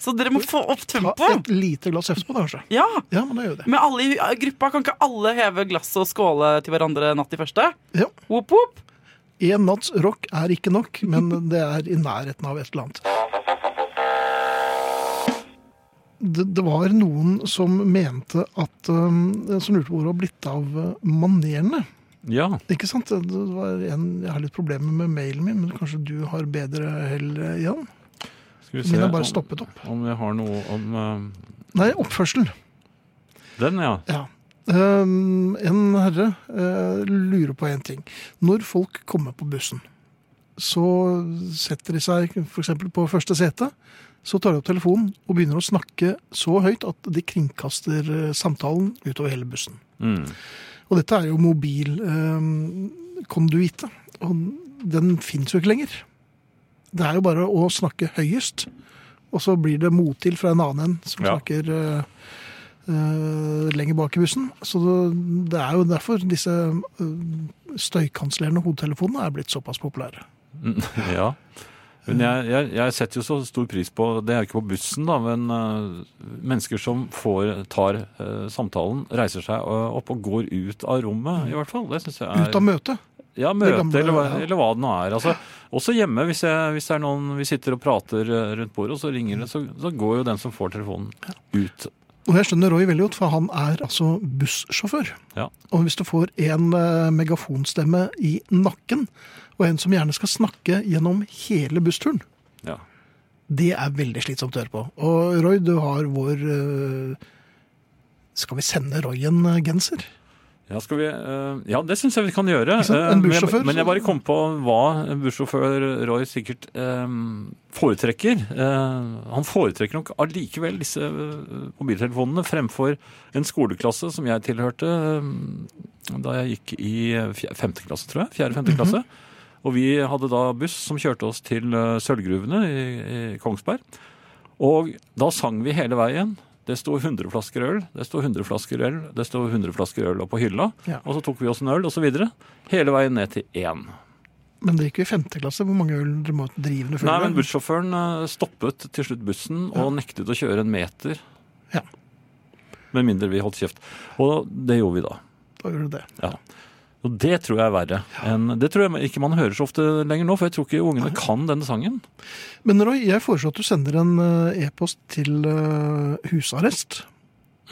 Speaker 4: Så dere må få opp
Speaker 2: Ta
Speaker 4: tempoet.
Speaker 2: et lite glass Øfs på det, kanskje.
Speaker 4: Ja.
Speaker 2: Ja, men da gjør vi det.
Speaker 4: Men alle i eh, gruppa, kan ikke alle heve glasset og skåle til hverandre natt til første?
Speaker 2: Ja.
Speaker 4: Whoop, whoop.
Speaker 2: Én natts rock er ikke nok, men det er i nærheten av et eller annet. Det, det var noen som mente at eh, Som lurte på hvor det var blitt av eh, manerene.
Speaker 3: Ja.
Speaker 2: Ikke sant? Det var en, jeg har litt problemer med mailen min, men kanskje du har bedre hell, eh, Jan?
Speaker 3: Skal vi se
Speaker 2: Min har bare
Speaker 3: om-
Speaker 2: stoppet opp.
Speaker 3: om jeg har noe om eh,
Speaker 2: Nei, oppførsel.
Speaker 3: den, ja.
Speaker 2: Ja. Ehm, en herre eh, lurer på en ting. Når folk kommer på bussen, så setter de seg f.eks. på første sete, så tar de opp telefonen og begynner å snakke så høyt at de kringkaster eh, samtalen utover hele bussen.
Speaker 3: Mm.
Speaker 2: Og dette er jo mobilkonduite, og den fins jo ikke lenger. Det er jo bare å snakke høyest, og så blir det mottil fra en annen en som
Speaker 3: Ja.
Speaker 2: snakker eh, eh, lenger bak i bussen. Så det- det er jo derfor disse eh, støykansellerende hodetelefonene er blitt såpass populære.
Speaker 3: Ja. Men jeg, jeg, jeg setter jo så stor pris på Det er jo ikke på bussen, da, men eh, mennesker som får, tar eh, samtalen, reiser seg eh, opp og går ut av rommet, i hvert fall. Det syns jeg er
Speaker 2: Ut av møtet.
Speaker 3: Ja, møte,
Speaker 2: gamle,
Speaker 3: eller, hva-
Speaker 2: ja.
Speaker 3: eller hva det nå er. Altså, også hjemme, hvis, jeg, hvis det er noen vi sitter og prater eh, rundt bordet, og så ringer det, så, så går jo den som får telefonen, ut.
Speaker 2: Og jeg skjønner Roy veldig godt, for han er altså bussjåfør.
Speaker 3: Ja.
Speaker 2: Og hvis du får en eh, megafonstemme i nakken, og en som gjerne skal snakke gjennom hele bussturen,
Speaker 3: ja.
Speaker 2: det er veldig slitsomt å høre på. Og Roy, du har vår eh, Skal vi sende Roy en eh, genser?
Speaker 3: Ja, skal vi, eh, ja, det syns jeg vi kan gjøre.
Speaker 2: Ikke sant? En
Speaker 3: Eh, men jeg-
Speaker 2: bussjåfør,
Speaker 3: Men jeg
Speaker 2: så-
Speaker 3: bare kom på hva en bussjåfør Roy sikkert eh, foretrekker. Eh, han foretrekker nok allikevel disse eh, mobiltelefonene fremfor en skoleklasse som jeg tilhørte eh, da jeg gikk i eh, fje- femte klasse, tror jeg.
Speaker 2: Mhm.
Speaker 3: Fjerde-femte klasse. Og vi hadde da buss som kjørte oss til eh, sølvgruvene i, i Kongsberg. Og da sang vi hele veien. Det sto 100 flasker øl, det sto 100 flasker øl, det sto 100 flasker øl oppå hylla.
Speaker 2: Ja.
Speaker 3: Og så tok vi oss en øl, og så videre. Hele veien ned til én.
Speaker 2: Men det gikk jo i femte klasse. Hvor mange øl dere må drive under
Speaker 3: Nei,
Speaker 2: før?
Speaker 3: men bussjåføren eh, stoppet til slutt bussen og nektet å kjøre en meter.
Speaker 2: Ja.
Speaker 3: Med mindre vi holdt kjeft. Og det gjorde vi da.
Speaker 2: Da gjør du det.
Speaker 3: Og det tror jeg er verre. enn- det tror jeg ikke man hører så ofte lenger nå, for jeg tror ikke ungene kan denne sangen.
Speaker 2: Men Roy, jeg foreslår at du sender en eh, e-post til eh, husarrest.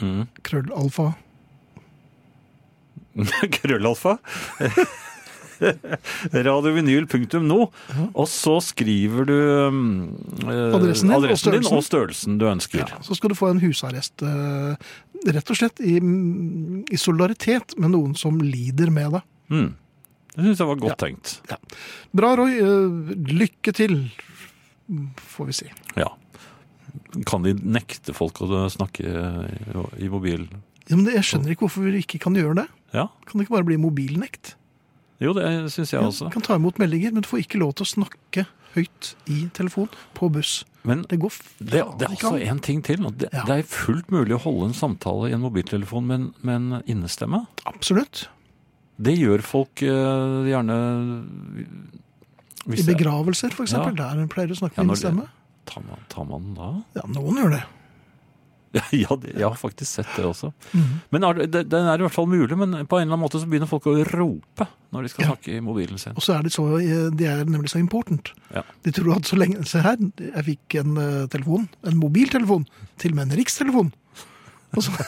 Speaker 3: Mm.
Speaker 2: Krøllalfa.
Speaker 3: Krøllalfa. Radiovinyl.no. Og så skriver du mm, eh,
Speaker 2: Adressen din og
Speaker 3: din
Speaker 2: størrelsen.
Speaker 3: og størrelsen du ønsker.
Speaker 2: Så skal du få en husarrest. eh, Rett og slett i, i solidaritet med noen som lider med deg.
Speaker 3: Mm. Det syns jeg var godt tenkt.
Speaker 2: Bra, Roy. eh, Lykke til, får vi si.
Speaker 3: Ja. Kan de nekte folk å snakke eh, i mobil?
Speaker 2: Ja, men det- jeg skjønner ikke hvorfor vi ikke kan gjøre det.
Speaker 3: Ja.
Speaker 2: Kan det ikke bare bli mobilnekt?
Speaker 3: Jo, det syns jeg også.
Speaker 2: Kan ta imot meldinger, men du får ikke lov til å snakke høyt i telefon på buss.
Speaker 3: Men
Speaker 2: Det går f-
Speaker 3: det, det er altså også en ting til. og Det,
Speaker 2: Ja.
Speaker 3: det er fullt mulig å holde en samtale i en mobiltelefon med en, med en innestemme.
Speaker 2: Absolutt.
Speaker 3: Det gjør folk eh, gjerne
Speaker 2: I
Speaker 3: hvis det-
Speaker 2: begravelser, for eksempel. Der pleier du å snakke
Speaker 3: Ja,
Speaker 2: med
Speaker 3: når
Speaker 2: din stemme.
Speaker 3: Tar man, tar man den da?
Speaker 2: Ja, noen gjør det.
Speaker 3: ja, det, jeg har faktisk sett det også.
Speaker 2: Mm.
Speaker 3: Men er, det- det, Den er i hvert fall mulig, men på en eller annen måte så begynner folk å rope når de skal snakke i mobilen sin.
Speaker 2: Og så er de så, de er nemlig så important.
Speaker 3: Ja.
Speaker 2: De tror at så lenge Se her, jeg fikk en eh, telefon, en mobiltelefon, til og med en rikstelefon. Og så,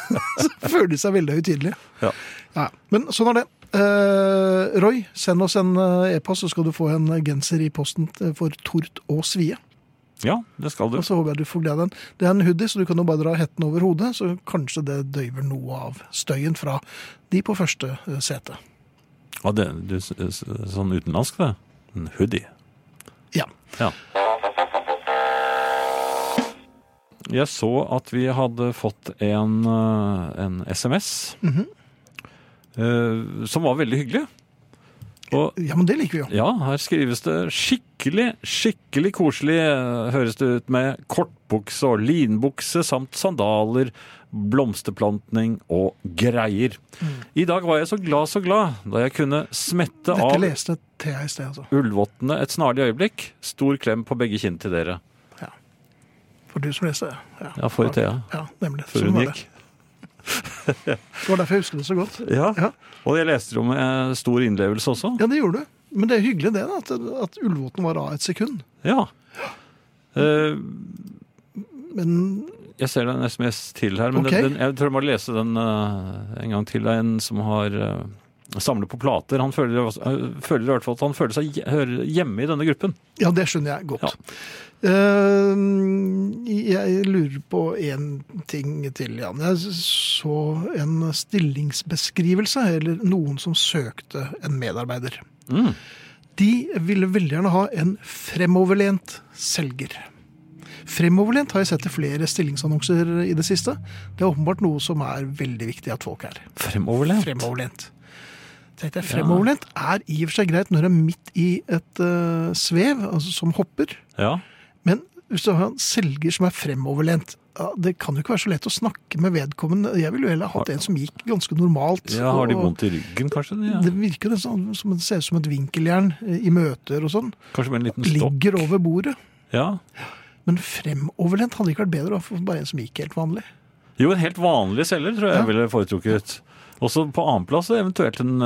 Speaker 2: så føler de seg veldig høytidelige.
Speaker 3: Ja.
Speaker 2: Ja, men sånn er det. Eh, Roy, send oss en eh, e-post, så skal du få en genser i posten til- for Tort og Svie.
Speaker 3: Ja, det skal du.
Speaker 2: Og så håper jeg du får glede av den. Det er en hoodie, så du kan jo bare dra hetten over hodet, så kanskje det døyver noe av støyen fra de på første eh, sete.
Speaker 3: Ja, det, du, s- s- sånn utenlandsk, det. En hoodie.
Speaker 2: Ja.
Speaker 3: Ja. Jeg så at vi hadde fått en, eh, en SMS eh, som var veldig hyggelig. Og
Speaker 2: ja, men det liker vi jo.
Speaker 3: Ja, her skrives det skikkelig, skikkelig koselig, eh, høres det ut med kortbukse og linbukse samt sandaler, blomsterplantning og greier.
Speaker 2: Mm.
Speaker 3: I dag var jeg så glad, så glad, da jeg kunne smette
Speaker 2: Dette
Speaker 3: av
Speaker 2: leste Thea i sted, altså.
Speaker 3: ullvottene et snarlig øyeblikk. Stor klem på begge kinn til dere.
Speaker 2: For du som leste det. Ja,
Speaker 3: Ja, for Thea.
Speaker 2: Ja, nemlig.
Speaker 3: Før
Speaker 2: Sånn
Speaker 3: hun
Speaker 2: var
Speaker 3: gikk.
Speaker 2: Det. det var derfor jeg husker det så godt.
Speaker 3: Ja.
Speaker 2: Ja.
Speaker 3: Og jeg leste det om eh, stor innlevelse også.
Speaker 2: Ja, det gjorde du. Men det er hyggelig det, da, at, at Ullvåten var av et sekund.
Speaker 3: Ja. Eh,
Speaker 2: Men
Speaker 3: Jeg ser det er en SMS til her, men
Speaker 2: Ok.
Speaker 3: den, den, jeg tror jeg må lese den eh, en gang til. Det er en som har eh, samlet på plater. Han føler, eh, føler i hvert fall at han føler seg hje- hører hjemme i denne gruppen.
Speaker 2: ja, det skjønner jeg godt. Eh, jeg lurer på en ting til, Jan. Jeg så en stillingsbeskrivelse, eller noen som søkte en medarbeider.
Speaker 3: Mm.
Speaker 2: De ville veldig gjerne ha en fremoverlent selger. Fremoverlent har jeg sett i flere stillingsannonser i det siste. Det er åpenbart noe som er veldig viktig at folk er.
Speaker 3: Fremoverlent.
Speaker 2: Fremoverlent. Tenkte jeg, Fremoverlent er i og for seg greit når du er midt i et eh, svev, altså som hopper.
Speaker 3: Ja.
Speaker 2: Men hvis du har en selger som er fremoverlent, ja, det kan jo ikke være så lett å snakke med vedkommende. Jeg ville jo heller hatt en som gikk ganske normalt.
Speaker 3: Ja, har de
Speaker 2: og-
Speaker 3: vondt i ryggen, kanskje? de,
Speaker 2: Det
Speaker 3: Ja.
Speaker 2: virker nesten som- som det ser ut som et vinkeljern i møter og sånn.
Speaker 3: Kanskje med en liten stokk?
Speaker 2: Ligger over bordet.
Speaker 3: Ja.
Speaker 2: Men fremoverlent hadde ikke vært bedre å få bare en som gikk helt vanlig.
Speaker 3: Jo, en helt vanlig selger tror jeg jeg ville foretrukket. Også på annenplass eventuelt en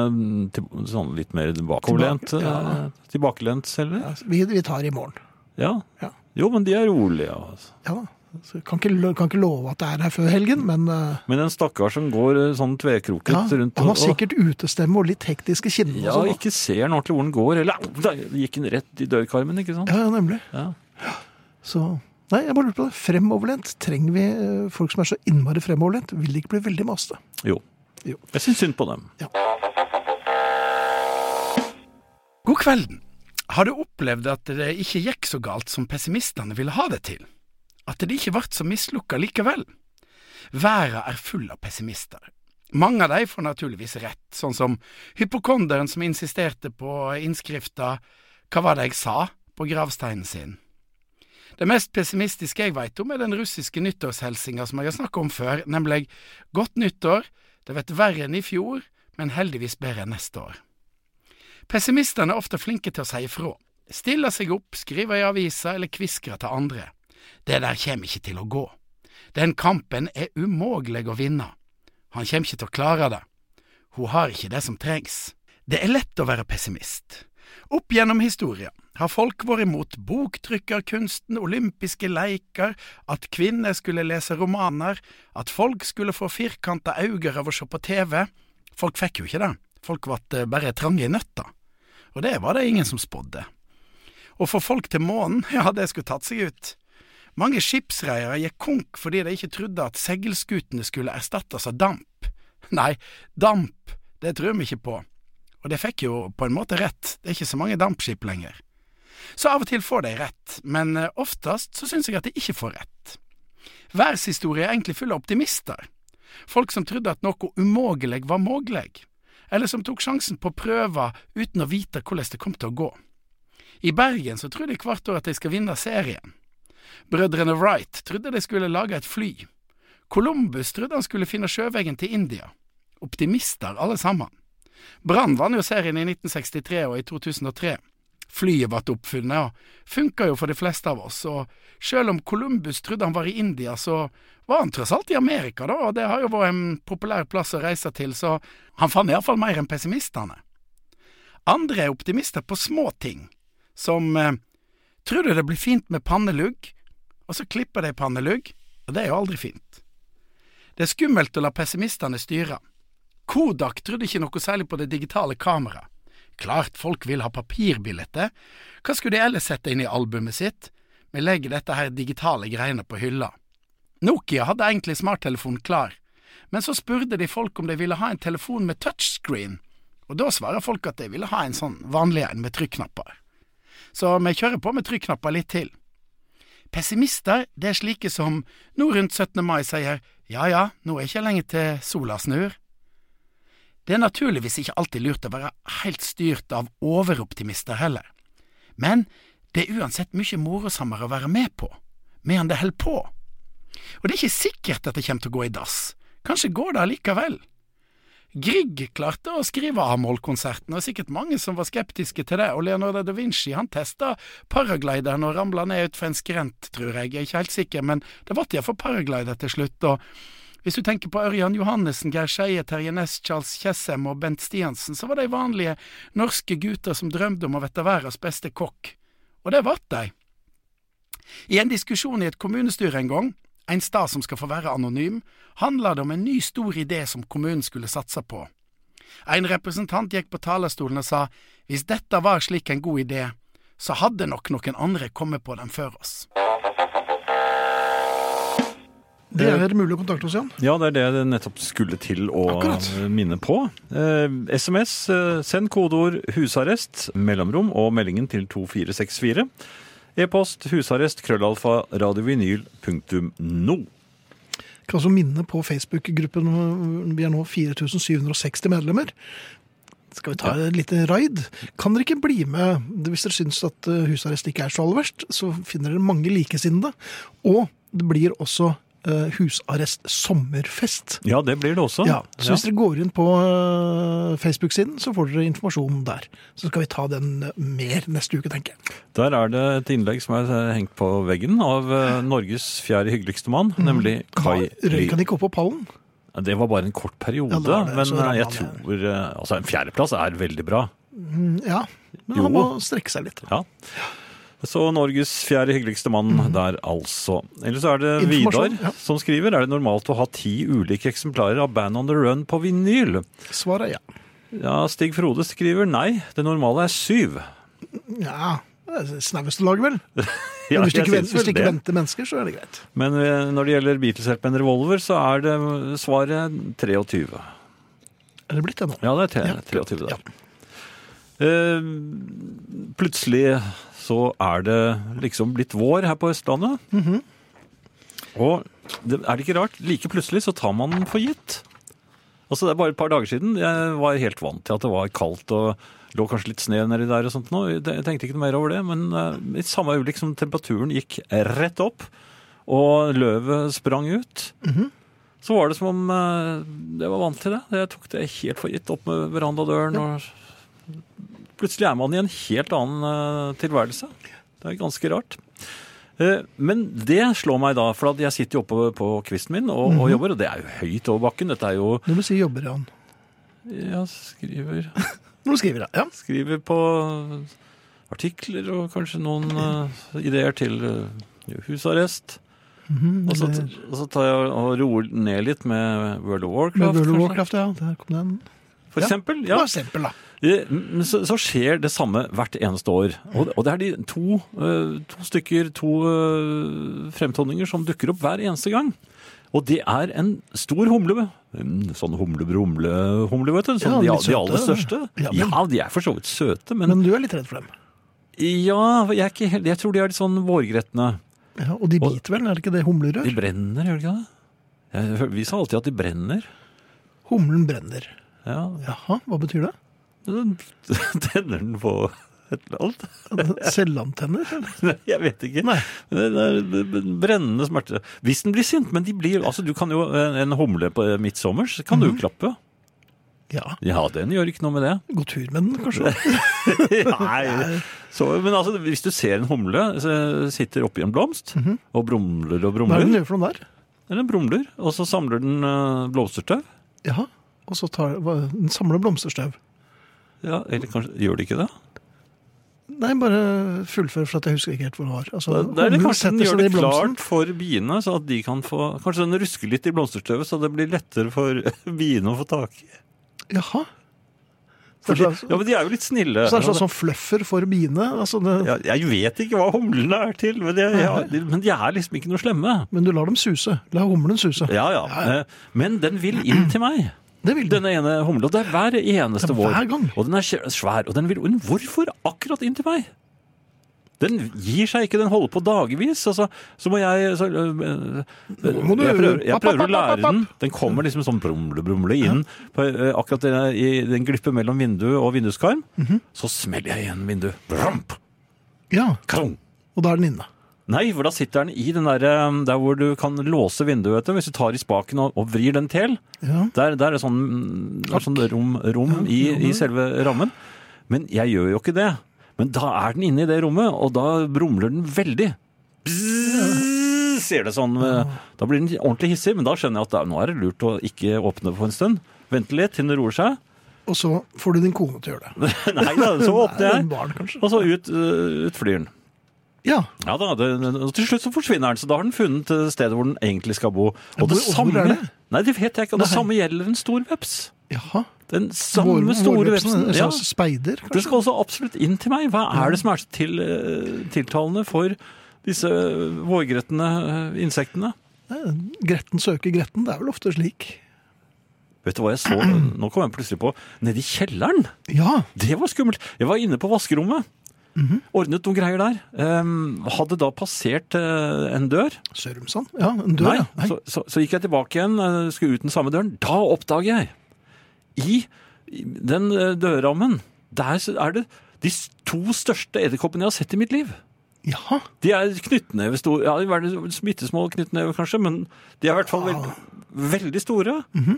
Speaker 3: eh, til, sånn litt mer bakoverlent,
Speaker 2: Tilbake- ja.
Speaker 3: eh, tilbakelent selger.
Speaker 2: Altså, vi, vi tar i morgen.
Speaker 3: Ja.
Speaker 2: Ja.
Speaker 3: Jo, men de er rolige. Altså.
Speaker 2: Ja da. Så kan, ikke, lo- kan ikke love at det er her før helgen, men eh,
Speaker 3: Men en stakkar som går eh, sånn tvekroket
Speaker 2: ja,
Speaker 3: rundt
Speaker 2: han har
Speaker 3: og-
Speaker 2: sikkert utestemme og litt hektiske kinner.
Speaker 3: ja,
Speaker 2: og sånn.
Speaker 3: ikke ser han ordentlig hvor den går. Eller au, der gikk den rett i dørkarmen, ikke sant?
Speaker 2: ja, ja, nemlig.
Speaker 3: Ja.
Speaker 2: Så Nei, jeg bare lurte på det. Fremoverlent. Trenger vi eh, folk som er så innmari fremoverlent? Vil de ikke bli veldig maste?
Speaker 3: Jo.
Speaker 2: Jo.
Speaker 3: Jeg syns synd på dem.
Speaker 5: God kvelden. Har du opplevd at det ikke gikk så galt som pessimistene ville ha det til? At det ikke ble så mislukka likevel? Verden er full av pessimister. Mange av de får naturligvis rett, sånn som hypokonderen som insisterte på innskrifta Hva var det jeg sa? på gravsteinen sin. Det mest pessimistiske jeg veit om, er den russiske nyttårshelsinga som jeg har snakka om før, nemlig Godt nyttår, det vet verre enn i fjor, men heldigvis bedre enn neste år. Pessimistene er ofte flinke til å si ifra. Stiller seg opp, skriver i aviser eller kviskrer til andre. Det der kjem ikke til å gå. Den kampen er umågelig å vinne. Han kjem ikke til å klare det. Hun har ikke det som trengs. Det er lett å være pessimist. Opp gjennom historia har folk vært imot boktrykkerkunsten, olympiske leker, at kvinner skulle lese romaner, at folk skulle få firkanta øyne av å se på TV. Folk fikk jo ikke det. Folk ble eh, bare trange i nøtta. Og det var det ingen som spådde. Å få folk til månen, ja, det skulle tatt seg ut. Mange skipsreiere gikk konk fordi de ikke trodde at seilskutene skulle erstattes av damp. Nei, damp, det tror vi ikke på. Og det fikk jo på en måte rett, det er ikke så mange dampskip lenger. Så av og til får de rett, men eh, oftest så syns jeg at de ikke får rett. Verdenshistorie er egentlig full av optimister. Folk som trodde at noe umågelig var mågelig, eller som tok sjansen på prøver uten å vite hvordan det kom til å gå. I Bergen så tror de hvert år at de skal vinne serien. Brødrene Wright trodde de skulle lage et fly. Columbus trodde han skulle finne sjøveien til India. Optimister alle sammen. Brann vant jo serien i 1963 og i 2003. Flyet ble oppfunnet og funka jo for de fleste av oss, og selv om Columbus trodde han var i India, så var han tross alt i Amerika, da, og det har jo vært en populær plass å reise til, så han fant iallfall mer enn pessimistene. Andre er optimister på små ting, som eh, tror du det blir fint med pannelugg, og så klipper de pannelugg, og det er jo aldri fint. Det er skummelt å la pessimistene styre. Kodak trodde ikke noe særlig på det digitale kameraet. Klart folk vil ha papirbillete, hva skulle de ellers sette inn i albumet sitt? Vi legger dette her digitale greiene på hylla. Nokia hadde egentlig smarttelefonen klar, men så spurte de folk om de ville ha en telefon med touchscreen, og da svarer folk at de ville ha en sånn vanlig en med trykknapper. Så vi kjører på med trykknapper litt til. Pessimister, det er slike som nå rundt 17. mai sier ja ja, nå er ikke lenge til sola snur. Det er naturligvis ikke alltid lurt å være helt styrt av overoptimister heller, men det er uansett mye morosammere å være med på, medan det holder på. Og det er ikke sikkert at det kommer til å gå i dass, kanskje går det allikevel. Grieg klarte å skrive A-moll-konserten, og sikkert mange som var skeptiske til det, og Leonardo da Vinci han testa paraglideren og ramla ned utfor en skrent, tror jeg, jeg er ikke helt sikker, men det ble iallfall paraglider til slutt, og hvis du tenker på Ørjan Johannessen, Geir Skeie, Terje Næss, Charles Tjessem og Bent Stiansen, så var de vanlige norske gutter som drømte om å bli verdens beste kokk. Og det ble de. I en diskusjon i et kommunestyre en gang, en stad som skal få være anonym, handla det om en ny stor idé som kommunen skulle satse på. En representant gikk på talerstolen og sa hvis dette var slik en god idé, så hadde nok noen andre kommet på den før oss.
Speaker 2: Det er mulig å kontakte oss, Jan.
Speaker 3: Ja, det er det jeg nettopp skulle til å
Speaker 2: Akkurat.
Speaker 3: minne på. Eh, SMS, eh, send kodeord 'husarrest', mellomrom og meldingen til 2464. E-post husarrest krøllalfa radiovinyl.no.
Speaker 2: kan også minne på Facebook-gruppen. Vi er nå 4760 medlemmer. Skal vi ta et lite raid? Kan dere ikke bli med hvis dere syns at eh, husarrest ikke er så aller verst? Så finner dere mange likesinnede. Og det blir også eh, husarrest sommerfest.
Speaker 3: Ja, det blir det også.
Speaker 2: Ja, så hvis dere går inn på eh, Facebook-siden, så får dere informasjon der. Så skal vi ta den eh, mer neste uke, tenker jeg.
Speaker 3: Der er det et innlegg som er eh, hengt på veggen av eh, Norges fjerde hyggeligste mann,
Speaker 2: Mm.
Speaker 3: nemlig Kai Lie.
Speaker 2: Røyk han ikke opp på pallen?
Speaker 3: Ja, Det var bare en kort periode,
Speaker 2: Ja, det var det,
Speaker 3: men
Speaker 2: så ramla
Speaker 3: eh, jeg
Speaker 2: han ned.
Speaker 3: tror eh, Altså, en fjerdeplass er veldig bra.
Speaker 2: Mm, Ja, men
Speaker 3: Jo.
Speaker 2: han må strekke seg litt.
Speaker 3: Ja. Så Norges fjerde hyggeligste mann der, altså. Ellers er det Vidar
Speaker 2: Mm. Informasjon, ja.
Speaker 3: som skriver. Er det normalt å ha ti ulike eksemplarer av Band on the Run på vinyl?
Speaker 2: Svaret er ja.
Speaker 3: Ja, Stig Frode skriver nei. Det normale er syv.
Speaker 2: Ja, det er snaueste laget, vel?
Speaker 3: Ja,
Speaker 2: Men hvis du ikke,
Speaker 3: jeg synes
Speaker 2: venter, hvis du
Speaker 3: vel
Speaker 2: ikke
Speaker 3: det.
Speaker 2: venter mennesker, så er det greit.
Speaker 3: Men eh, når det gjelder Beatles-hjelp med en revolver, så er det eh, svaret 23.
Speaker 2: Er det blitt det nå?
Speaker 3: Ja, det er tre,
Speaker 2: Ja,
Speaker 3: 23 der.
Speaker 2: ja.
Speaker 3: Eh, plutselig så er det liksom blitt vår her på Østlandet.
Speaker 2: Mhm.
Speaker 3: Og det, er det ikke rart? Like plutselig så tar man den for gitt. Altså Det er bare et par dager siden jeg var helt vant til at det var kaldt og lå kanskje litt sne nedi der. og sånt nå. Jeg tenkte ikke noe mer over det, men eh, i samme øyeblikk som temperaturen gikk rett opp, og løvet sprang ut, så var det som om eh, jeg var vant til det. Jeg tok det helt for gitt opp med verandadøren. og Plutselig er man i en helt annen eh, tilværelse. Det er ganske rart. Eh, Men det slår meg da, for at jeg sitter jo oppe på kvisten min og, og jobber, og det er jo høyt over bakken. Dette er jo
Speaker 2: Når du sier jobber han.
Speaker 3: Jeg skriver,
Speaker 2: Når du skriver, ja.
Speaker 3: skriver på artikler og kanskje noen eh, ideer til eh, husarrest.
Speaker 2: Mhm,
Speaker 3: Og så,
Speaker 2: eller-
Speaker 3: og så tar jeg og roer ned litt med World of
Speaker 2: Med
Speaker 3: Warcraft.
Speaker 2: World of
Speaker 3: kanskje.
Speaker 2: Warcraft, ja. Der kom den.
Speaker 3: For
Speaker 2: Ja.
Speaker 3: eksempel.
Speaker 2: For
Speaker 3: Ja.
Speaker 2: eksempel, da.
Speaker 3: Eh, men Så, så skjer det samme hvert eneste år. Og, og det er de to, eh, to stykker, to eh, fremtoninger som dukker opp hver eneste gang. Og det er en stor humle. En sånn humle-brumle-humle, vet du. Sånn
Speaker 2: Ja,
Speaker 3: de,
Speaker 2: litt
Speaker 3: de
Speaker 2: søte.
Speaker 3: aller største.
Speaker 2: Ja,
Speaker 3: Ja,
Speaker 2: men-
Speaker 3: de er for så vidt søte, men,
Speaker 2: Men du er litt redd for dem.
Speaker 3: ja, jeg, er ikke, helt- jeg tror de er litt sånn vårgretne.
Speaker 2: Ja, og de
Speaker 3: Og-
Speaker 2: biter vel, er det ikke det
Speaker 3: De
Speaker 2: humlerør?
Speaker 3: brenner, gjør de ikke det? Jeg, hør- vi sa alltid at de brenner.
Speaker 2: Humlen brenner.
Speaker 3: Ja,
Speaker 2: Jaha, hva betyr det?
Speaker 3: den- tenner den på et eller annet.
Speaker 2: Selvantenner? eller?
Speaker 3: Nei, Jeg vet ikke.
Speaker 2: Nei.
Speaker 3: Det er brennende smerte. Hvis den blir sint, men de blir altså, du kan jo, En humle på midtsommers
Speaker 2: Mhm.
Speaker 3: kan du jo klappe.
Speaker 2: Ja.
Speaker 3: Ja, den gjør ikke noe med det.
Speaker 2: Gå tur med den, kanskje.
Speaker 3: Nei. Så, men altså, hvis du ser en humle så sitter oppi en blomst og brumler
Speaker 2: Mhm. Hva
Speaker 3: og
Speaker 2: er
Speaker 3: brumler,
Speaker 2: det den gjør for noe der?
Speaker 3: eller brumler, og så samler den eh, blomsterstøv
Speaker 2: Jaha. Og så tar, hva- den samler blomsterstøv.
Speaker 3: ja, Eller kanskje gjør de ikke det?
Speaker 2: Nei, bare fullfør, for at jeg husker ikke helt hvor det var. Altså,
Speaker 3: Da, da er det
Speaker 2: humlen
Speaker 3: kanskje den
Speaker 2: setter seg
Speaker 3: gjør det
Speaker 2: i blomsten.
Speaker 3: klart for biene, så at de kan få Kanskje den rusker litt i blomsterstøvet, så det blir lettere for biene å få tak i.
Speaker 2: Jaha. Så
Speaker 3: Fordi,
Speaker 2: det er slags-
Speaker 3: ja, men de er jo litt snille.
Speaker 2: Så det er sånn sånn fluffer for biene. Altså det,
Speaker 3: Ja, jeg vet ikke hva humlene er til, men de, ja, de, men de er liksom ikke noe slemme.
Speaker 2: Men du lar dem suse. La humlen suse.
Speaker 3: Ja, ja. eh, Men den vil inn til meg.
Speaker 2: Det vil den.
Speaker 3: Denne ene humlen. Og det er hver eneste
Speaker 2: Det er
Speaker 3: vår.
Speaker 2: hver gang.
Speaker 3: Og den er skje- svær. Og den vil men Hvorfor akkurat inn til meg? Den gir seg ikke, den holder på dagevis. Altså, så må jeg så, øh, øh,
Speaker 2: må du-
Speaker 3: Jeg prøver, jeg
Speaker 2: app, app, app,
Speaker 3: prøver å
Speaker 2: app,
Speaker 3: lære den.
Speaker 2: app.
Speaker 3: Den kommer liksom sånn brumle-brumle inn. På, øh, akkurat det der i den glippet mellom vindu og vinduskarm.
Speaker 2: Mhm.
Speaker 3: Så smeller jeg igjen vinduet. Vramp!
Speaker 2: Ja,
Speaker 3: Krong!
Speaker 2: og da er den inne.
Speaker 3: Nei, for da sitter den i den der, eh, der hvor du kan låse vinduet, vet du, hvis du tar i spaken og, og vrir den til.
Speaker 2: Ja.
Speaker 3: Der, der er det sånn, mm, det er sånn rom, rom i, i selve rammen. Men jeg gjør jo ikke det. Men da er den inne i det rommet, og da brumler den veldig. Bzzz, Ser det sånn. eh, Da blir den ordentlig hissig, men da skjønner jeg at det, er- nå er det lurt å ikke åpne på en stund. Vente litt til den roer seg.
Speaker 2: Og så får du din kone til å gjøre det.
Speaker 3: Nei da, så åpner
Speaker 2: Nei,
Speaker 3: jeg,
Speaker 2: en barn, kanskje.
Speaker 3: og så ut, eh, ut flyr den.
Speaker 2: Ja.
Speaker 3: Ja da, det, og til slutt så forsvinner den, så da har den funnet eh, stedet hvor den egentlig skal bo. Og
Speaker 2: hvor- hvor er det?
Speaker 3: Nei, det vet jeg ikke. Og det samme gjelder en stor veps.
Speaker 2: Jaha.
Speaker 3: Den samme
Speaker 2: Vår-
Speaker 3: store
Speaker 2: vårvepsen,
Speaker 3: vepsen.
Speaker 2: En
Speaker 3: Ja.
Speaker 2: slags speider,
Speaker 3: Den
Speaker 2: kanskje?
Speaker 3: skal også absolutt inn til meg. Hva er det som er så til, eh, tiltalende for disse vårgretne eh, insektene?
Speaker 2: Nei, Gretten søker gretten. Det er vel ofte slik.
Speaker 3: Vet du hva jeg så? Nå kom jeg plutselig på. Nede i kjelleren!
Speaker 2: Ja.
Speaker 3: Det var skummelt. Jeg var inne på vaskerommet.
Speaker 2: Mhm.
Speaker 3: Ordnet noen greier der. Em, hadde da passert eh, en dør.
Speaker 2: Sørumsand. Ja, en dør,
Speaker 3: Nei,
Speaker 2: ja. Nei.
Speaker 3: Så, så, så gikk jeg tilbake igjen, eh, skulle ut den samme døren. Da oppdager jeg i i den eh, dørrammen Der så er det de s- to største edderkoppene jeg har sett i mitt liv.
Speaker 2: Jaha.
Speaker 3: De er knyttnevestor- ja, de er veldig smittesmå knyttnever kanskje, men de er i hvert fall veld, veldig store.
Speaker 2: Mhm.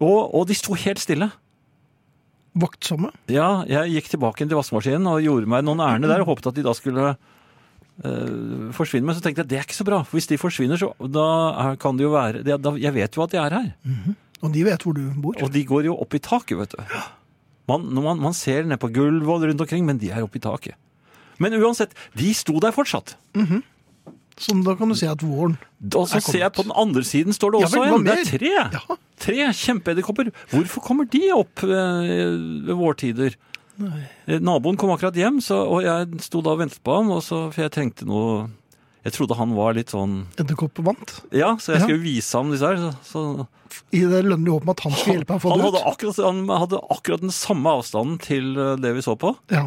Speaker 3: og, og de sto helt stille.
Speaker 2: Vaktsomme.
Speaker 3: Ja, jeg gikk tilbake inn til vaskemaskinen og gjorde meg noen ærend der og håpet at de da skulle eh, forsvinne. Men så tenkte jeg det er ikke så bra, for hvis de forsvinner, så da er- kan det jo være det, da, Jeg vet jo at de er her.
Speaker 2: Og de vet hvor du bor.
Speaker 3: Og de går jo opp i taket, vet du. Man, når man, man ser ned på gulvet og rundt omkring, men de er oppe i taket. Men uansett, de sto der fortsatt.
Speaker 2: Så da kan du si at våren
Speaker 3: Og så
Speaker 2: Er kommet.
Speaker 3: ser jeg på den andre siden står det
Speaker 2: Ja
Speaker 3: også
Speaker 2: vel, hva
Speaker 3: en. Det
Speaker 2: mer?
Speaker 3: er tre.
Speaker 2: Ja.
Speaker 3: Tre kjempeedderkopper. Hvorfor kommer de opp eh, ved vårtider? Eh, Naboen kom akkurat hjem, så, og jeg sto da og ventet på ham, og så, for jeg trengte noe Jeg trodde han var litt sånn
Speaker 2: edderkopper vant.
Speaker 3: Ja, så jeg
Speaker 2: Ja.
Speaker 3: skulle vise ham disse her. Så, så
Speaker 2: I det lønnlige håp om at han skulle hjelpe deg å få
Speaker 3: han,
Speaker 2: det
Speaker 3: hadde
Speaker 2: ut.
Speaker 3: akkurat, han hadde akkurat den samme avstanden til eh, det vi så på.
Speaker 2: Ja.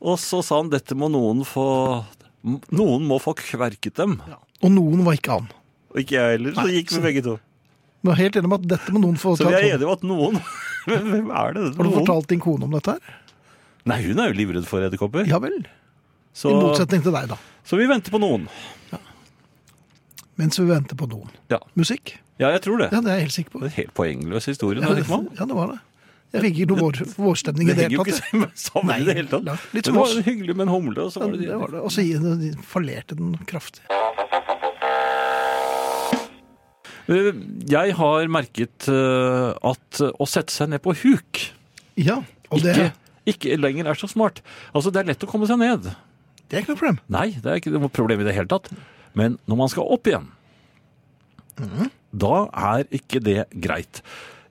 Speaker 3: Og så sa han dette må noen få Noen må få kverket dem.
Speaker 2: Og noen var ikke han.
Speaker 3: Og ikke jeg heller. Så gikk vi begge to.
Speaker 2: Men jeg er helt enig med at dette må noen få
Speaker 3: Så vi er
Speaker 2: hånd om.
Speaker 3: enige om at noen Men hvem er det?
Speaker 2: Har du
Speaker 3: Noen?
Speaker 2: fortalt din kone om dette her?
Speaker 3: Nei, hun er jo livredd for edderkopper.
Speaker 2: Ja vel.
Speaker 3: så,
Speaker 2: I motsetning til deg, da.
Speaker 3: så vi venter på noen.
Speaker 2: Mens vi venter på noen.
Speaker 3: Ja,
Speaker 2: Musikk?
Speaker 3: ja jeg tror det.
Speaker 2: Ja, det er jeg helt sikker på.
Speaker 3: Det er en helt poengløs historie.
Speaker 2: Ja,
Speaker 3: når jeg
Speaker 2: det,
Speaker 3: tenker meg om.
Speaker 2: ja, det var det. Jeg fikk ikke noe vår, vårstemning i
Speaker 3: Det
Speaker 2: det
Speaker 3: henger jo
Speaker 2: hele
Speaker 3: ikke
Speaker 2: tatt.
Speaker 3: sammen- sammen i det hele
Speaker 2: Nei,
Speaker 3: tatt.
Speaker 2: litt
Speaker 3: Men
Speaker 2: som
Speaker 3: det
Speaker 2: oss.
Speaker 3: var hyggelig med en humle, og så
Speaker 2: Ja,
Speaker 3: var det,
Speaker 2: Det var det. Og så de fallerte den kraftig.
Speaker 3: Uh, Jeg har merket uh, at uh, å sette seg ned på huk
Speaker 2: Ja, og det,
Speaker 3: ikke, ikke lenger er så smart. Altså, det er lett å komme seg ned.
Speaker 2: det er ikke noe problem.
Speaker 3: Nei, det er ikke noe problem i det hele tatt. Men når man skal opp igjen, da er ikke det greit.